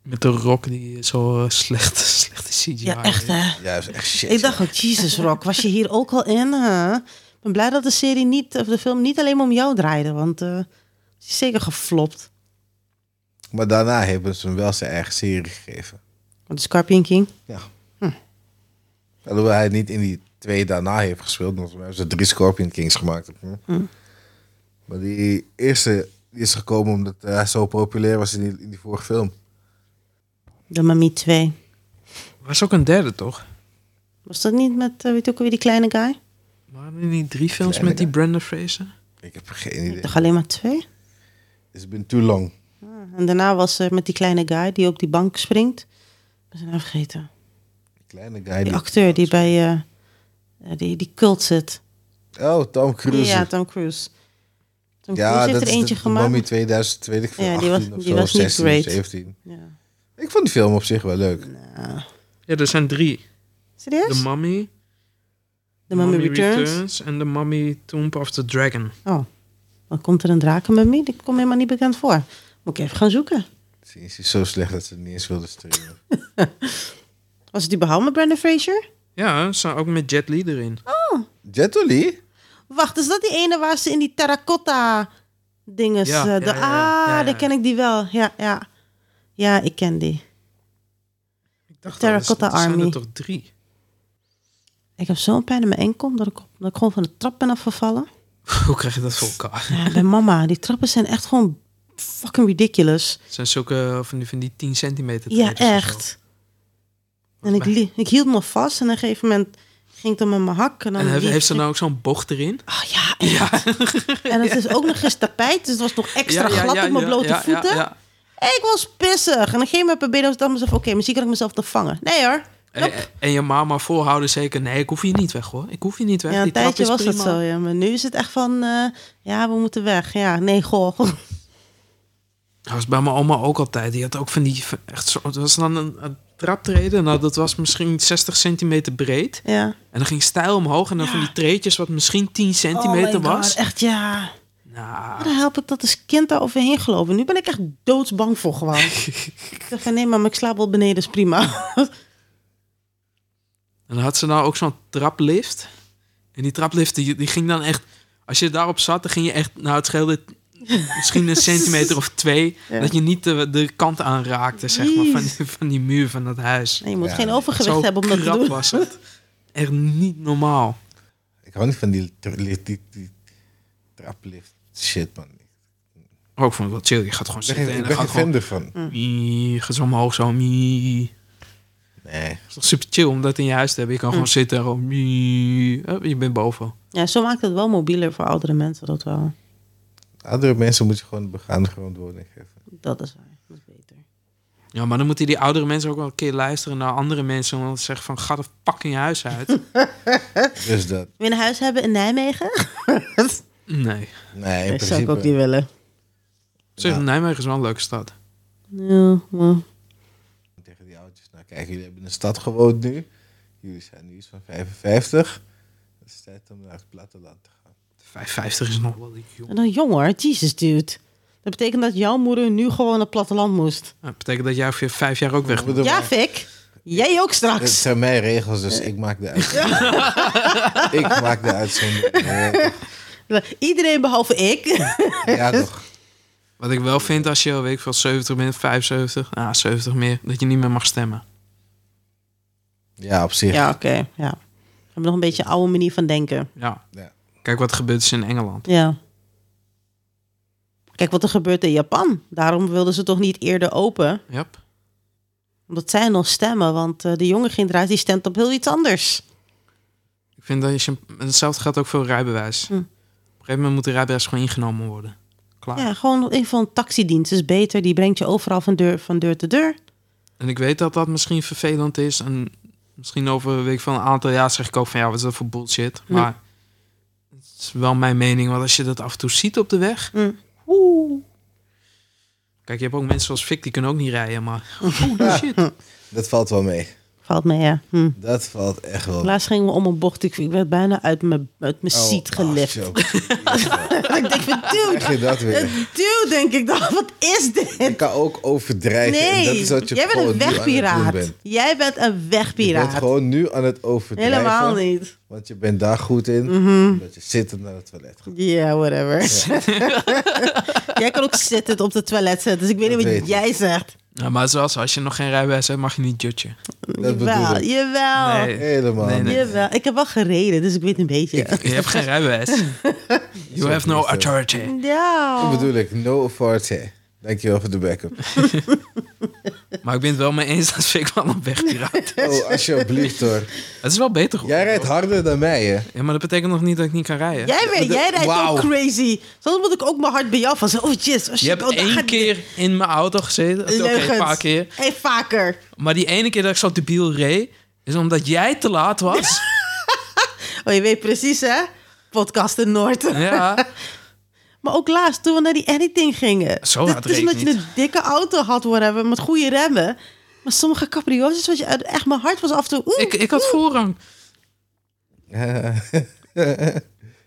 B: Met de rock die zo eh, slecht, slechte CGI
A: Ja, echt
B: heeft.
A: hè.
C: Ja, dat is echt shit.
A: Ik dacht ook, Jesus Rock, was je hier ook al in? hè? Ik ben blij dat de serie niet, of de film niet alleen maar om jou draaide, want eh het is zeker geflopt.
C: Maar daarna hebben ze hem wel zijn eigen serie gegeven.
A: Want de Scorpion King.
C: Ja.
A: Hm.
C: Alhoewel hij niet in die twee daarna heeft gespeeld. Want we hebben ze drie Scorpion Kings gemaakt. Hm? Maar die eerste die is gekomen omdat eh, hij zo populair was in die, in die vorige film.
A: De Mami 2.
B: was ook een derde, toch?
A: Was dat niet met, eh, weet je ook weer die kleine guy?
B: Waren er niet drie films
C: Kleine
B: met die Brandon Fraser?
C: Ik heb geen idee.
A: Ik dacht alleen maar twee.
C: It's been too long.
A: En daarna was er met die kleine guy die op die bank springt. Ik ben zijn naam vergeten.
C: Die kleine guy.
A: Die acteur die bij eh, eh, die, die cult zit.
C: Oh, Tom Cruise.
A: Ja,
C: Ja,
A: Tom Cruise. Tom Cruise heeft er eentje
C: de,
A: gemaakt.
C: De Mummy 2000, weet ik veel,
A: Ja, die was-
C: 18 of
A: die
C: zo,
A: was niet
C: 16 of
A: great.
C: 17.
A: Ja.
C: Ik vond die film op zich wel leuk.
B: Ja, er zijn drie.
A: Serieus?
B: The Mummy,
A: De Mummy Returns.
B: en The Mummy Tomb of the Dragon.
A: Oh, dan komt er een drakenmummy. Die komt helemaal niet bekend voor. Moet ik even gaan zoeken.
C: Ze is zo slecht dat ze het niet eens wilden streamen.
A: Was het überhaupt met Brandon Fraser?
B: Ja, er staan ook met Jet Li erin.
A: Oh,
C: Jet Li?
A: Wacht, is dat die ene waar ze in die terracotta dinges...
B: Ja,
A: eh,
B: ja,
A: de,
B: ja, ja,
A: ah,
B: ja, ja.
A: daar ken ik die wel. Ja, ja. Ja, ik ken die.
B: Ik dacht,
A: Terracotta
B: dat is- dat zijn
A: Army.
B: er toch drie?
A: Ik heb zo'n pijn in mijn enkel dat ik, op- dat ik gewoon van de trap ben afgevallen.
B: Hoe krijg je dat voor elkaar?
A: Ja, bij mama, die trappen zijn echt gewoon fucking ridiculous.
B: Het zijn zulke eh, van die, van die 10 centimeter
A: Ja,
B: treders of zo.
A: echt. En ik, li- ik hield me vast en op een gegeven moment ging het dan met mijn hak. En dan
B: En heeft,
A: liep
B: heeft ze
A: ik-
B: nou ook zo'n bocht erin?
A: Ah ja, en, en het is ook nog eens tapijt, dus het was nog extra glad op mijn blote
B: ja,
A: voeten.
B: Ja, ja.
A: Ik was pissig. En op een gegeven moment probeerde ik dan mezelf, oké, misschien kan ik mezelf nog vangen. Nee hoor.
B: En, en je mama volhouden zeker. Nee, ik hoef hier niet weg hoor. Ik hoef hier niet weg.
A: Ja, een
B: Die trap
A: tijdje
B: is
A: was dat
B: prima.
A: zo, ja. Maar nu is het echt van, eh, ja, we moeten weg. Ja, nee, goh.
B: Dat was bij mijn oma ook altijd. Die had ook van die... van- Echt zo, het was dan een, een traptreden. Nou, dat was misschien 60 centimeter breed.
A: Ja.
B: En dan ging stijl omhoog. En dan van die treetjes wat misschien 10 centimeter
A: Oh my God,
B: was.
A: echt ja.
B: Nou,
A: Dan help ik dat als kind daar overheen gelopen. Nu ben ik echt doodsbang voor gewoon. ik dacht van, nee, maar ik slaap wel beneden, is prima.
B: en dan had ze nou ook zo'n traplift. En die traplift, die, die ging dan echt... Als je daarop zat, dan ging je echt... Nou, het scheelde misschien een centimeter of twee.
A: Ja.
B: Dat je niet de, de kant aanraakte, zeg maar. Van, die- van die muur van dat huis.
A: Nee, je moet
C: Ja,
A: geen
C: nee.
A: overgewicht
B: Zo
A: hebben om dat te
B: krap
A: doen.
B: was het. Echt niet normaal.
C: Ik hou niet van die, die, die, die traplift shit, man.
B: Maar Oh, ik vond het wel chill. Je gaat gewoon
C: Ik ben
B: zitten
C: geen- ik
B: en
C: ben
B: dan
C: geen
B: gaat
C: fan
B: gewoon... Mm.
C: ervan.
B: Mie, gaat zo omhoog, zo mie.
C: Nee.
B: Het is toch super chill om dat in je huis te hebben.
A: Hm.
B: Je kan gewoon zitten en gewoon mie. Hup, Je bent boven.
A: Ja, zo maakt het wel mobieler voor oudere mensen, dat wel.
C: Andere mensen moet je gewoon een begaande grote woning geven.
A: Dat is waar. Dat is beter.
B: Ja, maar dan moeten die oudere mensen ook wel een keer luisteren naar andere mensen. En dan zeggen van, ga er fucking je huis uit.
C: Dus dat.
A: Wil je een huis hebben in Nijmegen?
B: nee.
C: Nee, in
A: dat zou ik ook niet
C: principe.
A: willen.
B: Zeg,
C: Ja.
B: Nijmegen is wel een leuke stad.
A: Ja, maar...
C: Tegen die oudjes. Nou kijk, jullie hebben in de stad gewoond nu. Jullie zijn nu iets van 55. Het is tijd om naar het platteland te gaan.
B: 55 is nog wel jong.
A: En dan jong hoor, Jesus dude. Dat betekent dat jouw moeder nu gewoon naar het platteland moest.
B: Dat betekent dat jij over vijf jaar ook weg moet.
C: Bedoel,
A: Ja,
C: maar-
A: Fik. Jij ook
C: Het
A: straks.
C: zijn mijn regels, dus ik maak de uitzondering. ik maak de uitzondering. Ja,
A: Iedereen behalve ik.
C: Ja, toch.
B: Wat ik wel vind als je, weet ik veel, 70 bent, 75, ah, 70 meer, dat je niet meer mag stemmen.
C: Ja, op zich.
A: Ja, oké. Ja. We hebben nog een beetje een oude manier van denken.
B: Ja.
C: Ja.
B: Kijk wat er gebeurd is in Engeland.
A: Ja. Kijk wat er gebeurt in Japan. Daarom wilden ze toch niet eerder open.
B: Yep.
A: Omdat zij nog stemmen. Want eh, de jonge generatie stemt op heel iets anders.
B: Ik vind dat je, hetzelfde geldt ook voor rijbewijs.
A: Hm.
B: Op een gegeven moment moet de rijbewijs gewoon ingenomen worden.
C: Ah.
B: Klaar.
A: Ja, gewoon een van taxidienst is beter. Die brengt je overal van deur, van deur te deur.
B: En ik weet dat dat misschien vervelend is. En misschien over een week van een aantal jaar zeg ik ook van ja, wat is dat voor bullshit.
A: Hm.
B: Maar het is wel mijn mening, want als je dat af en toe ziet op de weg.
A: Hm.
B: Kijk, je hebt ook mensen zoals Fik, die kunnen ook niet rijden, maar holy shit.
C: Dat valt wel mee.
A: Valt mee, ja. Hm.
C: Dat valt echt wel mee.
A: Laatst gingen we om een bocht. Ik, ik werd bijna uit mijn, uit mijn seat gelift.
C: Oh, joh.
A: ik denk van, dude,
C: Krijg je dat weer?
A: dude, denk ik dan. Wat is dit?
C: Ik kan ook overdrijven. en
A: Nee,
C: dat is wat je
A: jij bent
C: gewoon
A: een
C: nu aan het doen
A: wegpiraat.
C: bent.
A: Jij bent een
C: Je bent
A: wegpiraat.
C: gewoon nu aan het overdrijven.
A: Helemaal niet. Mhm.
C: Want je bent daar goed in. Dat je zittend naar het toilet gaat.
A: Ja, whatever. jij kan ook zittend op de toilet zitten, dus ik weet
C: Dat
A: niet wat
C: weet ik.
A: jij zegt.
B: Ja, maar zoals als je nog geen rijbewijs hebt, mag je niet judgen.
C: Dat bedoel
A: jawel,
C: ik.
A: jawel.
B: Nee.
C: Helemaal
B: Nee, nee.
C: niet.
A: Jawel, ik heb wel gereden, dus ik weet een beetje.
B: Je hebt geen rijbewijs. You have no authority.
A: Ja.
C: Dat bedoel ik. No authority. Dankjewel voor de backup.
B: Maar ik ben het wel mee eens dat Fik wel een wegpiraat.
C: Oh, alsjeblieft hoor.
B: Het is wel beter goed.
C: Jij rijdt harder dan mij, hè?
B: Ja, maar dat betekent nog niet dat ik niet kan rijden.
A: Jij, weer,
C: de-
A: jij rijdt
C: wauw.
A: ook crazy. Soms moet ik ook mijn hart bij jou van zeggen, Oh, jeez. als
B: Je hebt
A: oh, daar
B: één
A: gaat-
B: keer in mijn auto gezeten. Oké,
A: Leugens.
B: een paar keer.
A: Hey, vaker.
B: Maar die ene keer dat ik zo debiel reed, is omdat jij te laat was.
A: Oh, je weet precies, hè? Podcast in Noord.
B: ja.
A: Maar ook laatst, toen we naar die editing gingen.
B: Zo
A: Dit
B: hard
A: is
B: reed ik
A: omdat je
B: niet.
A: een dikke auto had, whatever, met goede remmen. Maar sommige caprio's, wat je echt mijn hart was af en toe. oeh,
B: Ik, ik had voorrang.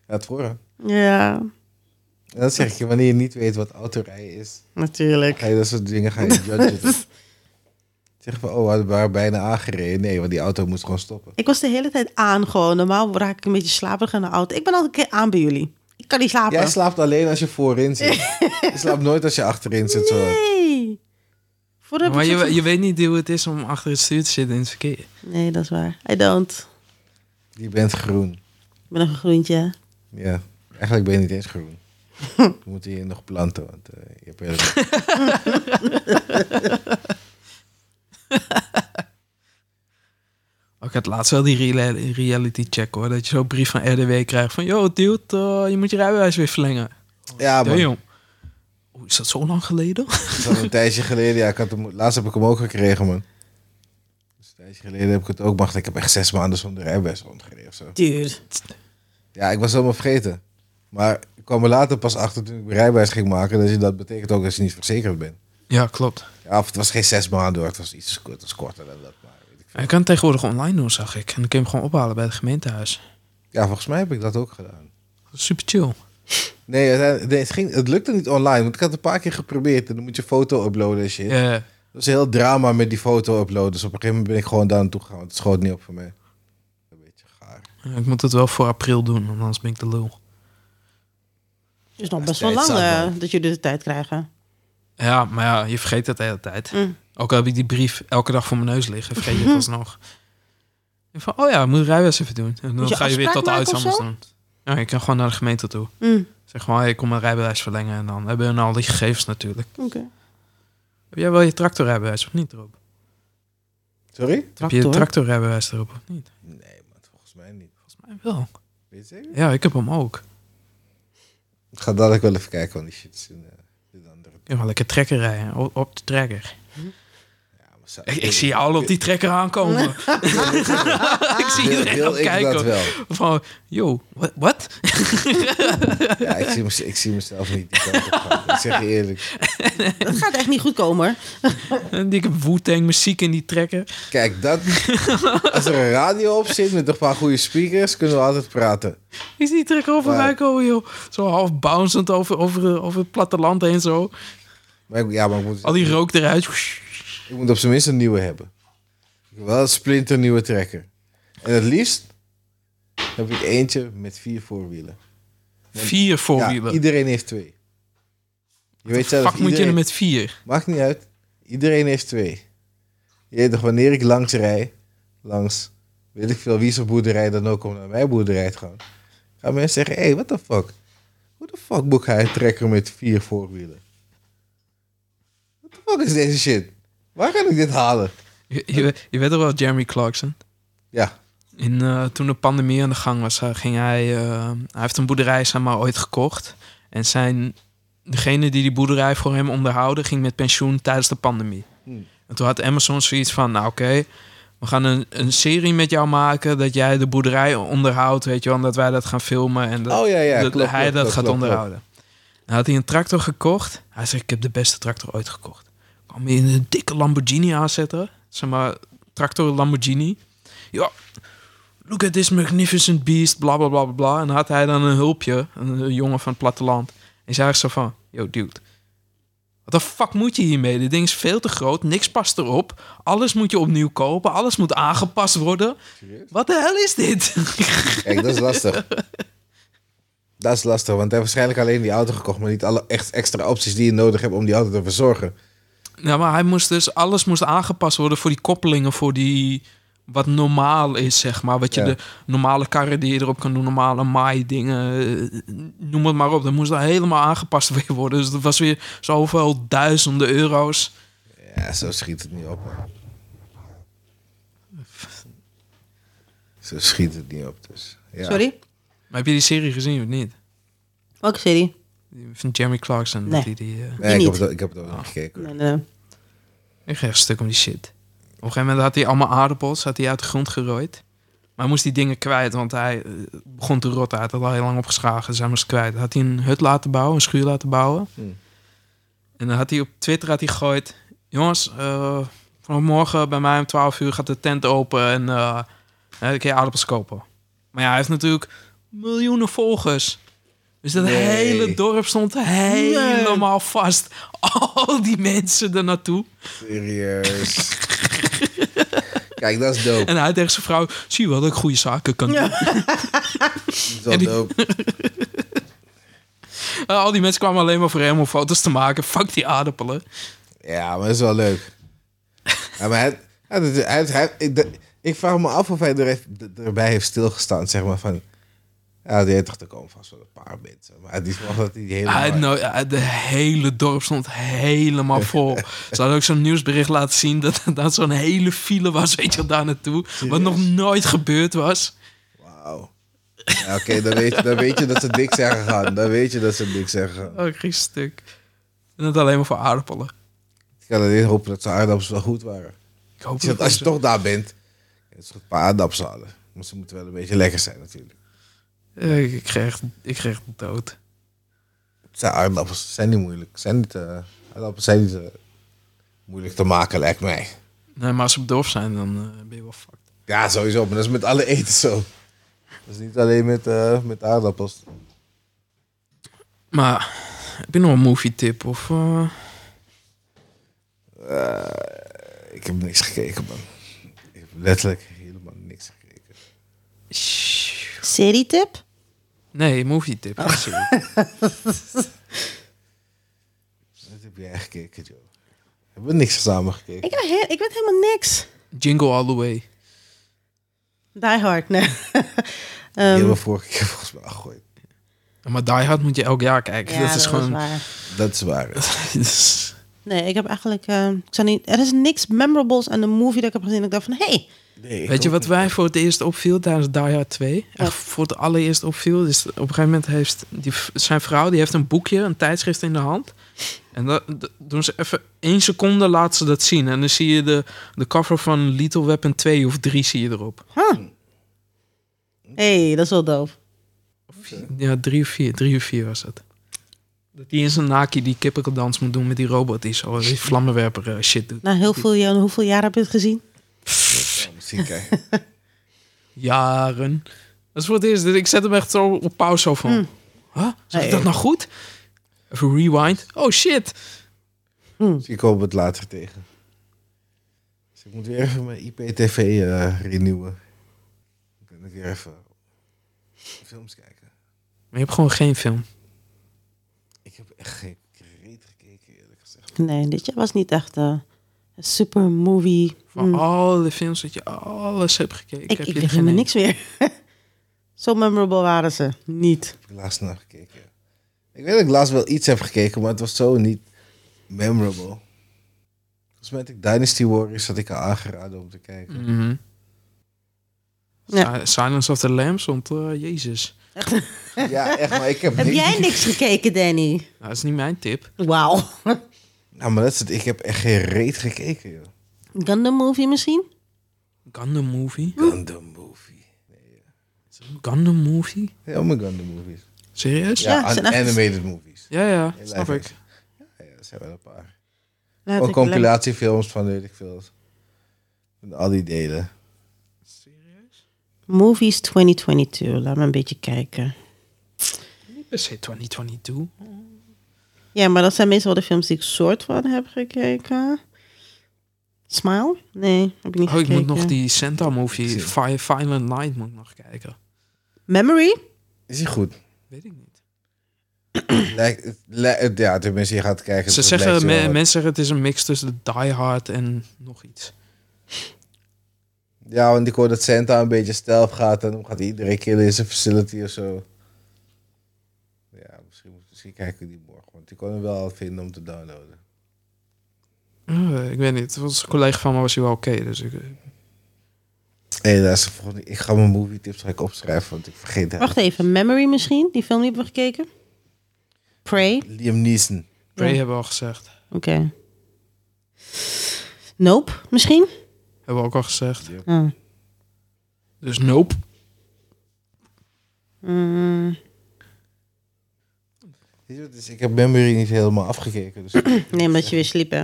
C: Het voorrang.
A: Ja,
C: Dat zeg ik je, wanneer je niet weet wat autorijden is,
A: natuurlijk.
C: ga je dat soort dingen ga je judgen. toch? Zeg van, oh, we waren bijna aangereden. Nee, want die auto moest gewoon stoppen.
A: Ik was de hele tijd aan gewoon. Normaal raak ik een beetje slaperig in de auto. Ik ben altijd een keer aan bij jullie. Ik kan niet slapen.
C: Jij slaapt alleen als je voorin zit. Je slaapt nooit als je achterin zit. Zo.
A: nee. Voordat
B: Maar
A: ik-
B: je, je weet niet hoe het is om achter het stuur te zitten in het verkeer.
A: Nee, dat is waar. I don't.
C: Je bent groen.
A: Ik ben nog een groentje.
C: Ja, eigenlijk ben je niet eens groen. We moeten je nog planten, want eh, je hebt heel-
B: Oh, Ik had laatst wel die reala- reality check hoor. Dat je zo'n brief van RDW krijgt van... Yo, dude, eh, je moet je rijbewijs weer verlengen.
C: Ja,
B: Ja,
C: man.
B: jong. Oeh, is dat zo lang geleden?
C: Dat is al een tijdje geleden. Ja, ik had hem, laatst heb ik hem ook gekregen, man. Dus een tijdje geleden heb ik het ook. Maar ik heb echt zes maanden zonder rijbewijs rondgereden of zo.
A: Dude.
C: Ja, ik was helemaal vergeten. Maar ik kwam er later pas achter toen ik mijn rijbewijs ging maken. Dat, je, dat betekent ook dat je niet verzekerd bent.
B: Ja, klopt.
C: Ja, of het was geen zes maanden hoor. Het was iets het was korter dan dat. Maar weet ik veel.
B: Hij kan het tegenwoordig online doen, zag ik. En dan kun je hem gewoon ophalen bij het gemeentehuis.
C: Ja, volgens mij heb ik dat ook gedaan.
B: Super chill.
C: Nee, uiteindelijk- nee, het, ging, het lukte niet online. Want ik had het een paar keer geprobeerd. En dan moet je foto uploaden en shit.
B: Ja.
C: Dat was een heel drama met die foto uploaden. Dus op een gegeven moment ben ik gewoon daar naartoe gegaan. Want het schoot niet op voor mij. Een beetje gaar.
B: Ik moet het wel voor april doen, want anders ben ik de lul.
A: is nog
C: is
A: best wel lang
C: tijdzaam,
A: eh,
C: man.
A: dat jullie de tijd krijgen.
B: Ja, maar ja, je vergeet dat de hele tijd.
A: Mm.
B: Ook al heb ik die brief elke dag voor mijn neus liggen, vergeet
A: Mhm.
B: je het alsnog. En van, oh ja, ik moet de rijbewijs even doen. En dan
A: je
B: ga je weer
A: afspraak
B: tot de
A: maken of
B: uitzenders doen. Ja, ik kan gewoon naar de gemeente toe.
A: Mm.
B: Ze Zeg gewoon, hey, kom mijn rijbewijs verlengen. En dan hebben hun al die gegevens natuurlijk.
A: Oké.
B: Heb jij wel je tractorrijbewijs of niet erop?
C: Sorry?
B: Heb je je
A: Tractor.
B: tractorrijbewijs erop of niet?
C: Nee, man, volgens mij niet.
B: Volgens mij wel.
C: Weet je zeker?
B: Ja, ik heb hem ook.
C: Ik ga dadelijk wel even kijken, want die shit is een, eh, dit andere.
B: Ik kan wel lekker trekker rijden. Op, op de trekker.
C: Ja, Ah, maar zou-
B: Ik, ik zie jou al op die trekker aankomen. ik zie
C: Wil,
B: iedereen
C: wil
B: al
C: ik dat
B: kijken.
C: wel?
B: Van, yo, wat- wat?
C: Ja, ik zie, mez- ik zie mezelf niet die kant op gaan. Ik zeg je eerlijk.
A: Dat gaat echt niet goed komen hoor.
B: Een dikke Wu-Tang muziek in die trekker.
C: Kijk, dat, als er een radio op zit met een paar goede speakers, kunnen we altijd praten.
B: Is die trekker over
C: Maar-
B: mij komen, joh. Zo half bouncend over, over, over het platteland heen zo.
C: Maar ik, ja, maar ik moet,
B: Al die rook eruit.
C: ik moet op zijn minst een nieuwe hebben. Ik wil wel een splinternieuwe trekker. En het liefst heb ik eentje met vier voorwielen.
B: Vier
C: Ja,
B: voorwielen.
C: iedereen heeft twee. Je weet zelf,
B: Fuck moet je er
C: iedereen-
B: met vier?
C: Maakt niet uit. Iedereen heeft twee. Je weet toch, wanneer ik langs rij, langs weet ik veel wie zijn boerderij dan ook om naar mijn boerderij te gaan, gaan mensen zeggen: hé, hey, what the fuck? Hoe de fuck boek hij een trekker met vier voorwielen? What the fuck is deze shit? Waar kan ik dit halen?
B: Je, je, je weet toch wel Jeremy Clarkson?
C: Ja,
B: In, eh, toen de pandemie aan de gang was, eh, ging hij, eh, hij heeft een boerderij zeg maar, ooit gekocht. En zijn, degene die die boerderij voor hem onderhouden, ging met pensioen tijdens de pandemie.
C: Hmm.
B: En toen had Amazon zoiets van, nou oké, we gaan een, een serie met jou maken dat jij de boerderij onderhoudt, weet je wel, en dat wij dat gaan filmen en dat,
C: Oh, ja, ja,
B: dat
C: klopt,
B: hij
C: klopt,
B: dat
C: klopt,
B: gaat
C: klopt,
B: onderhouden. Dan had hij een tractor gekocht. Hij zegt, ik heb de beste tractor ooit gekocht. Kwam hij in een dikke Lamborghini aanzetten, zeg maar, tractor Lamborghini. Ja, look at this magnificent beast, bla bla bla bla, bla. En had hij dan een hulpje, een, een jongen van het platteland. En zei echt zo van, yo dude, wat de fuck moet je hiermee? Dit ding is veel te groot, niks past erop. Alles moet je opnieuw kopen, alles moet aangepast worden.
C: Serieus?
B: Wat de hel is dit?
C: kijk, dat is lastig. Dat is lastig, want hij heeft waarschijnlijk alleen die auto gekocht, maar niet alle echt extra opties die je nodig hebt om die auto te verzorgen.
B: nou, maar hij moest dus, alles moest aangepast worden voor die koppelingen, voor die... Wat normaal is, zeg maar. Wat je
C: Ja.
B: de normale karren die je erop kan doen, normale maaidingen, eh, noem het maar op. Dat moest dan helemaal aangepast weer worden. Dus dat was weer zoveel duizenden euro's.
C: Ja, zo schiet het niet op, man. Zo schiet het niet op, dus. Ja.
A: Sorry?
B: Maar heb je die serie gezien of niet?
A: Welke serie?
B: Die Van Jeremy Clarkson.
A: Nee.
B: Dat die, die, eh,
C: Nee, ik, heb
A: Niet.
C: het, ook- ik heb het ook nog gekeken.
A: Nee, nee, nee.
B: ik geef een stuk om die shit. Op een gegeven moment had hij allemaal aardappels had hij uit de grond gerooid. Maar hij moest die dingen kwijt, want hij eh, begon te rotten. Hij had het al heel lang opgeschragen, dus hij moest het kwijt. Had hij een hut laten bouwen, een schuur laten bouwen.
C: Hmm.
B: En dan had hij op Twitter had hij gegooid... Jongens, eh, vanmorgen bij mij om 12 uur gaat de tent open en eh dan kun je aardappels kopen. Maar ja, hij heeft natuurlijk miljoenen volgers. Dus dat
C: Nee.
B: hele dorp stond helemaal vast. Al die mensen er naartoe.
C: Serieus. Kijk, dat is dope.
B: En hij tegen zijn vrouw, zie je wel dat ik goede zaken kan doen.
C: Dat is wel dope.
B: En Eh, al die mensen kwamen alleen maar voor hem om foto's te maken. Fuck die aardappelen.
C: Ja, maar dat is wel leuk. Ja, maar hij, hij, hij, hij, hij- ik, de- ik vraag me af of hij er heeft, d- erbij heeft stilgestaan, zeg maar, van... Ja, die heeft toch, er komen vast wel een paar mensen. Maar die verwacht dat hij die hele...
B: Hij had nooit- hij- de hele dorp stond helemaal vol. Ze hadden ook zo'n nieuwsbericht laten zien dat dat zo'n hele file was, weet je, wel, daar naartoe. Wat nog nooit gebeurd was.
C: Wauw. Ja, Oké, dan, weet, dan weet je dat ze dik zijn gegaan. Dan weet je dat ze dik zijn gegaan.
B: Oh, ik kreeg een stuk. En dat alleen maar voor aardappelen.
C: Ik kan alleen hopen dat ze aardappels wel goed waren.
B: Ik hoop
C: Ik zeg,
B: dat
C: als je
B: ze-
C: toch daar bent, het is goed een paar aardappels halen. Maar ze moeten wel een beetje lekker zijn natuurlijk.
B: Eh, Ik kreeg, ik kreeg dood.
C: Het zijn aardappels, ze zijn niet moeilijk. Zijn niet, eh, aardappels zijn niet eh, moeilijk te maken, lijkt mij.
B: Nee, maar als ze op dorp zijn, dan eh, ben je wel fucked.
C: Ja, sowieso, maar dat is met alle eten zo. Dat is niet alleen met, eh, met aardappels.
B: Maar heb je nog een movie tip? Of, eh,
C: Ik heb niks gekeken, man. Ik heb letterlijk helemaal niks gekeken.
B: shh.
A: Serietip?
B: Nee, movie tip. geen serie.
C: Wat heb jij gekeken, joh? Hebben we niks samen gekeken?
A: Ik, heb he- ik weet helemaal niks.
B: Jingle All The Way.
A: Die Hard, nee.
C: Die
A: Ehm,
C: Ah, hebben we vorige keer volgens mij al gegooid.
B: Maar Die Hard moet je elk jaar kijken. dat is gewoon...
A: waar.
C: Dat is waar.
B: dus-
A: Nee, ik heb eigenlijk... eh, ik zou niet, er is niks memorables aan de movie dat ik heb gezien. dat Ik dacht van, hé, hey,
C: Nee,
B: Weet je wat wij voor het eerst opviel tijdens Die Hard 2? Echt voor het allereerst opviel. Is, op een gegeven moment heeft die, v- zijn vrouw die heeft een boekje, een tijdschrift in de hand. En dat, dat doen ze even één seconde laat ze dat zien. En dan zie je de, de cover van Little Weapon 2 of 3 zie je erop. Mm.
A: hey, dat is wel doof.
B: Ja, 3 of 4. 3 of 4 was dat. Dat die in zijn Naki die kippekeldans moet doen met die robot die zo die vlammenwerper eh, shit doet.
A: Na heel veel, jaren- hoeveel jaar heb je het gezien?
C: Ja, misschien kijken.
B: Jaren. Dat is voor het eerst. Dus Ik zet hem echt zo op pauze zo van. Huh? Zeg ik
A: Hmm. Nee.
B: dat nou goed? Even rewind. Oh shit.
C: Misschien komen we het later tegen. Dus ik moet weer even mijn IPTV eh, renewen. Dan kan ik weer even films kijken.
B: Maar je hebt gewoon geen film.
C: Ik heb echt geen reet gekeken, eerlijk gezegd.
A: Nee, dit jaar was niet echt eh, een super movie.
B: Van al de films dat je alles hebt gekeken.
A: Hmm. Ik,
B: heb
A: ik,
B: je er
A: weet
B: geen
A: helemaal
B: één.
A: niks meer. Zo memorable waren ze niet.
C: Ik heb laatst naar gekeken. Ik weet dat ik laatst wel iets heb gekeken, maar het was zo niet memorable. Volgens mij had ik Dynasty Warriors had ik haar aangeraden om te kijken.
B: Mhm.
A: Ja.
B: Si- Silence of the Lambs, want eh, jezus.
C: Ja, echt, maar ik heb,
A: Mm. Heb
C: niks-
A: jij niks gekeken, Danny?
B: Nou, dat is niet mijn tip.
A: Wauw.
C: Nou, maar dat is het. Ik heb echt geen reet gekeken, joh.
A: Gundam movie misschien?
B: Gundam
A: Hm.
B: movie.
C: Gundam movie.
B: Is dat een Gundam movie?
C: Helemaal Gundam movies.
B: Serieus?
A: Ja,
C: Ja,
A: het zijn
C: an-
A: echt-
C: animated movies.
B: ja, ja,
C: Heel
B: snap
C: erg.
B: ik.
C: Ja, ja, er zijn wel een paar.
A: Laat
C: Ook
A: ik lem-
C: compilatiefilms van weet ik veel. Van al die delen.
A: Movies 2022. Laat me een beetje kijken.
B: Niet per se 2022.
A: Ja, maar dat zijn meestal wel de films die ik soort van heb gekeken. Smile? Nee, heb ik niet
B: Oh, ik
A: gekeken.
B: moet nog die Santa movie,
C: Zie.
B: Fi- Violent Night, moet ik nog kijken.
A: Memory?
C: Is die goed?
B: Weet ik niet.
C: Lijkt, het lij- het- ja, tenminste, je gaat kijken.
B: Ze
C: het
B: zeggen,
C: lijkt
B: me-
C: wel-
B: mensen zeggen het is een mix tussen Die Hard en nog iets.
C: Ja, want ik hoor dat Santa een beetje stealth gaat en dan gaat hij iedereen killen in zijn facility of zo. Ja, misschien, misschien kijken we die morgen. Want ik kon hem wel vinden om te downloaden.
B: Eh, ik weet niet, volgens een collega van me was hij wel oké. dus ik,
C: Hé, hey, luister, volgende, ik ga mijn movie tips ga ik opschrijven, want ik vergeet het.
A: Wacht even, Memory misschien? Die film die hebben we gekeken? Prey? Oké.
C: Liam Neeson.
B: Prey
A: Ja.
B: hebben we al gezegd.
A: Nope, misschien?
B: Hebben we ook al gezegd.
A: Oh.
B: Dus nope.
A: Mm,
C: Weet je wat, Dus ik heb Memory niet helemaal afgekeken. Dus
A: nee, omdat je weer sliep, hè?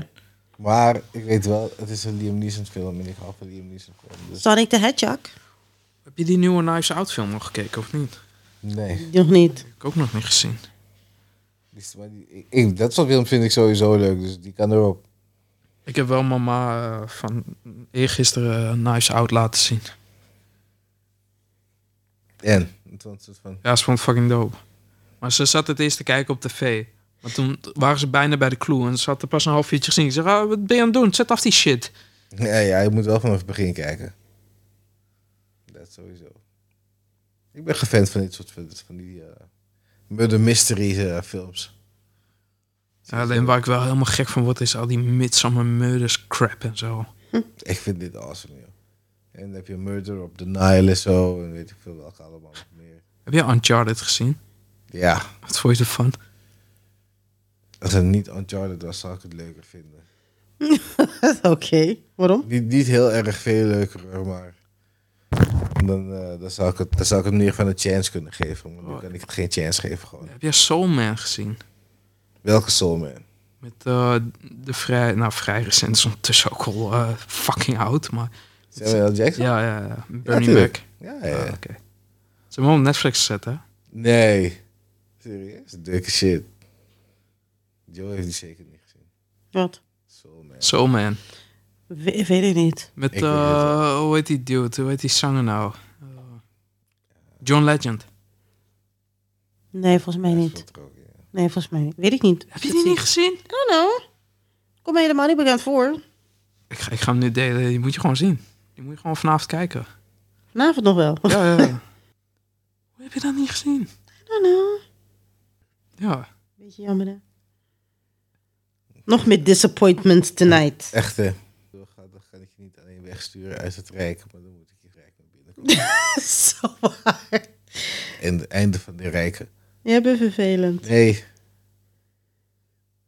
C: Maar ik weet wel, het is een Liam Neeson film en ik hou van Liam Neeson film. Dus
A: Sonic the Hedgehog?
B: Heb je die nieuwe Knives Out film nog gekeken of niet?
C: nee,
A: Nog niet.
B: Heb ik ook nog niet gezien.
C: die is- maar die- ik, ik- dat soort films vind ik sowieso leuk, dus die kan erop.
B: Ik heb wel mama eh, van eergisteren eh, Knives Out laten zien.
C: En, het was een soort van,
B: Ja, ze vond het fucking dope. Maar ze zat het eerst te kijken op tv. Maar toen waren ze bijna bij de clue en ze had er pas een half uurtje gezien. Ik zeg, ah, wat ben je aan het doen? Zet af die shit.
C: ja, ja, je moet wel vanaf het begin kijken. Dat sowieso. Ik ben gefan van dit soort van, van die eh murder mystery eh, films.
B: Ja, alleen waar ik wel helemaal gek van word is al die Midsummer Murders crap en zo.
C: Ik vind dit awesome, joh. En dan heb je Murder op the Nile en zo, en weet ik veel welke allemaal nog meer.
B: Heb je Uncharted gezien?
C: Ja,
B: Wat vond je ervan?
C: als het niet Uncharted was, zou ik het leuker vinden.
A: Oké, waarom?
C: Niet, niet heel erg veel leuker, hoor, maar dan, eh, dan, zou ik het, dan zou ik het meer van een chance kunnen geven. Maar nu
B: Oh.
C: kan ik het geen chance geven gewoon.
B: Heb je Soul Man gezien?
C: Welke Soul Man?
B: Met eh, de vrij, nou vrij recent, is ondertussen ook al eh, fucking oud, maar
C: Samuel L. Jackson?
B: ja, ja, ja. Bernie Mac.
C: tuurlijk. Ja, ja.
B: Ah, Oké. Ze hebben hem op Netflix gezet, hè?
C: Nee. Serieus? Dikke shit. Joe heeft die zeker niet gezien.
A: Wat?
C: Soul Man.
B: Soul Man.
A: We- weet ik niet.
B: Met,
C: Ik weet het
B: eh,
C: wel.
B: hoe heet die dude? Hoe heet die zanger nou? Eh, John Legend.
A: Nee, volgens mij niet.
C: Stond er ook in.
A: Nee, volgens mij niet. Weet ik niet.
B: Heb je die niet gezien?
A: Oh no. Kom me helemaal niet bekend voor.
B: Ik ga, ik ga hem nu delen, die moet je gewoon zien. Die moet je gewoon vanavond kijken.
A: Vanavond nog wel.
B: Ja, ja, ja. Hoe heb je dat niet gezien?
A: Oh no.
B: Ja.
A: Beetje jammer, hè? Nog meer disappointment tonight.
C: Echt, hè. Dan ga, dan ga ik je niet alleen wegsturen uit het Rijk, maar dan moet ik je Rijk naar binnen komen.
A: Zo waar.
C: en het einde van de Rijken.
A: Jij bent vervelend.
C: Nee.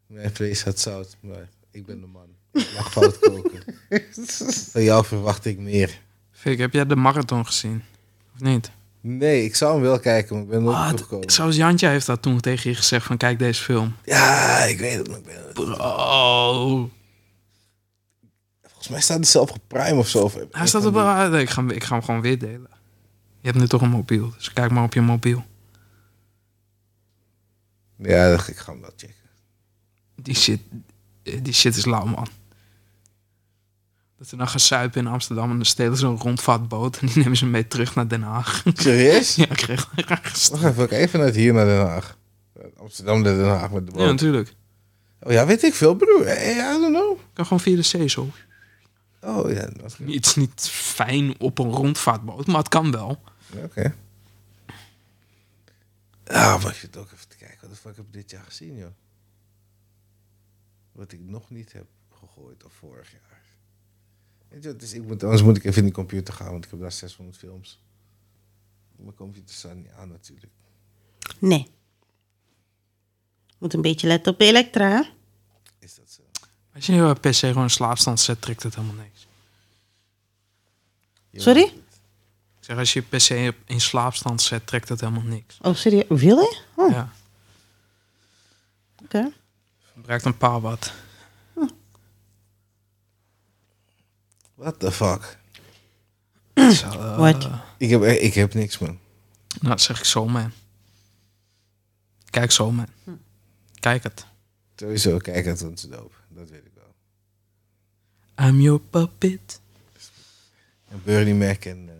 C: Mijn vlees had zout, maar ik ben de man. Ik mag fout koken. Van jou verwacht ik meer.
B: Fik, heb jij de marathon gezien? Of niet?
C: Nee, ik zou hem wel kijken, maar ik ben
B: Ah,
C: nooit
B: d-
C: opgekomen.
B: zelfs Jantje heeft dat toen tegen je gezegd van kijk deze film.
C: Ja, ik weet het, maar ik ben
B: Bro.
C: Volgens mij staat hij zelf op Prime of zo. Of-
B: Hij staat op... ah, nee, ik, ga, hem- ik ga hem gewoon weer delen. Je hebt nu toch een mobiel, dus kijk maar op je mobiel.
C: Ja, ik ga hem wel checken.
B: Die shit, eh, die shit is lauw, man. Dat ze dan gaan suipen in Amsterdam en dan stelen ze een rondvaartboot en die nemen ze mee terug naar Den Haag.
C: Serieus?
B: ja, ik kreeg wel raar gest-
C: Wacht even, ik even vanuit hier naar Den Haag. Amsterdam naar Den Haag met de
B: Ja,
C: boot.
B: natuurlijk.
C: oh ja, weet ik veel, broer. Hey, I don't know.
B: Ik kan gewoon via de zee zo.
C: Oh ja, dat is-
B: Het is niet fijn op een rondvaartboot, maar het kan wel.
C: oké. Ah, maar ik zit ook even te kijken. Wat de fuck heb ik dit jaar gezien, joh? Wat ik nog niet heb gegooid of vorig jaar. Weet je wat, dus ik moet, anders moet ik even in die computer gaan, want ik heb daar 600 films. Mijn computer staat niet aan natuurlijk.
A: Nee. Moet een beetje letten op Elektra, hè?
C: Is dat zo?
B: Als je heel per se gewoon in slaapstand zet, trekt het helemaal niks.
C: Je
A: Sorry?
C: weet het.
B: Ik zeg, als je per se in slaapstand zet, trekt het helemaal niks.
A: Oh, serieus? Wil je? Oh,
B: Ja,
A: oké.
B: gebruikt een paar wat.
C: What the fuck?
B: Zo, eh,
A: Wat?
C: Ik heb, ik heb niks, man.
B: Nou, dat zeg ik zo, man. Kijk zo, man. Kijk het.
C: Sowieso, kijk, het is doop. Dat weet ik wel.
B: I'm your puppet.
C: En Bernie Mac en... eh,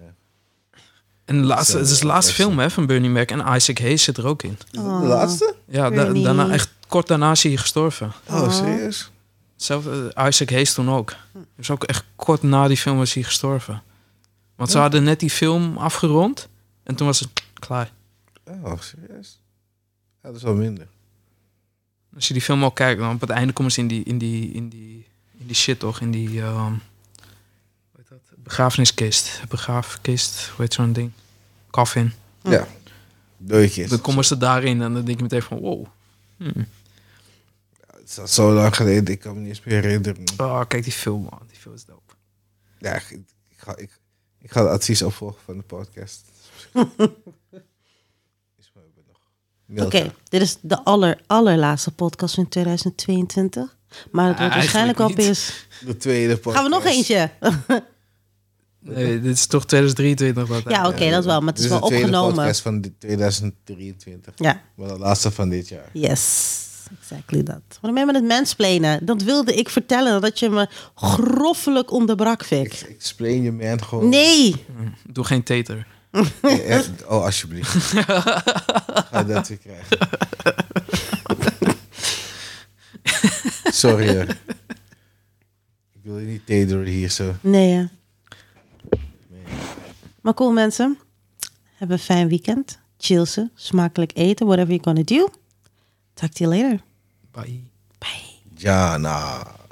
B: En de laatste,
C: Zo,
B: het is de
C: ja,
B: laatste
C: best.
B: film hè, van Bernie Mac. En Isaac Hayes zit er ook in.
C: is dat de laatste?
B: Ja, da-
A: Bernie.
B: daarna, echt kort daarna is hij gestorven.
C: Oh, serieus?
B: Zelf, eh, Isaac Hayes toen ook.
A: Hm.
B: Dus ook echt kort na die film was hij gestorven. Want ze hadden net die film afgerond. En toen was het klaar.
C: Oh, serieus? Ja, dat is wel minder.
B: Als je die film al kijkt, dan op het einde komen ze in die, in die, in die, in die shit toch. In die ehm, hoe heet dat? begrafeniskist. Begraafkist, hoe heet zo'n ding? Coffin.
C: Ja. Dooitjes.
B: Dan komen ze daarin en dan denk je meteen van wow. Hmm.
C: Het zat zo lang geleden, ik kan me niet eens meer herinneren.
B: Oh, kijk die film man, die film is dope.
C: Ja, ik, ik ga, ik, ik ga het advies opvolgen van de podcast. is maar nog.
A: Oké,
C: Milka.
A: dit is de aller, allerlaatste podcast in 2022. Maar het wordt
B: Ah, eigenlijk
A: waarschijnlijk wel
B: niet.
A: pis.
C: De tweede podcast.
A: Gaan we nog eentje?
B: Nee, Eh, dit is toch 2023 dat
A: Ja, oké, dat wel. Maar het is wel
C: de tweede
A: opgenomen.
C: podcast van dit- 2023.
A: Ja,
C: Maar de laatste van dit jaar.
A: yes. Exactly dat. Waarom ben je met het mensplenen? Dat wilde ik vertellen, dat je me groffelijk onderbrak,
C: Ik
A: Vic.
C: explain je man gewoon.
A: Nee!
B: Doe geen teter.
C: Eh, eh, Oh, alsjeblieft. Ga dat weer krijgen. Sorry hoor. Ik wil je niet tederen hier zo.
A: Nee, hè. Maar cool, mensen. Hebben een fijn weekend. Chill ze. Smakelijk eten. Whatever you're gonna do. Talk to you later.
B: Bye.
A: Bye.
C: Jana.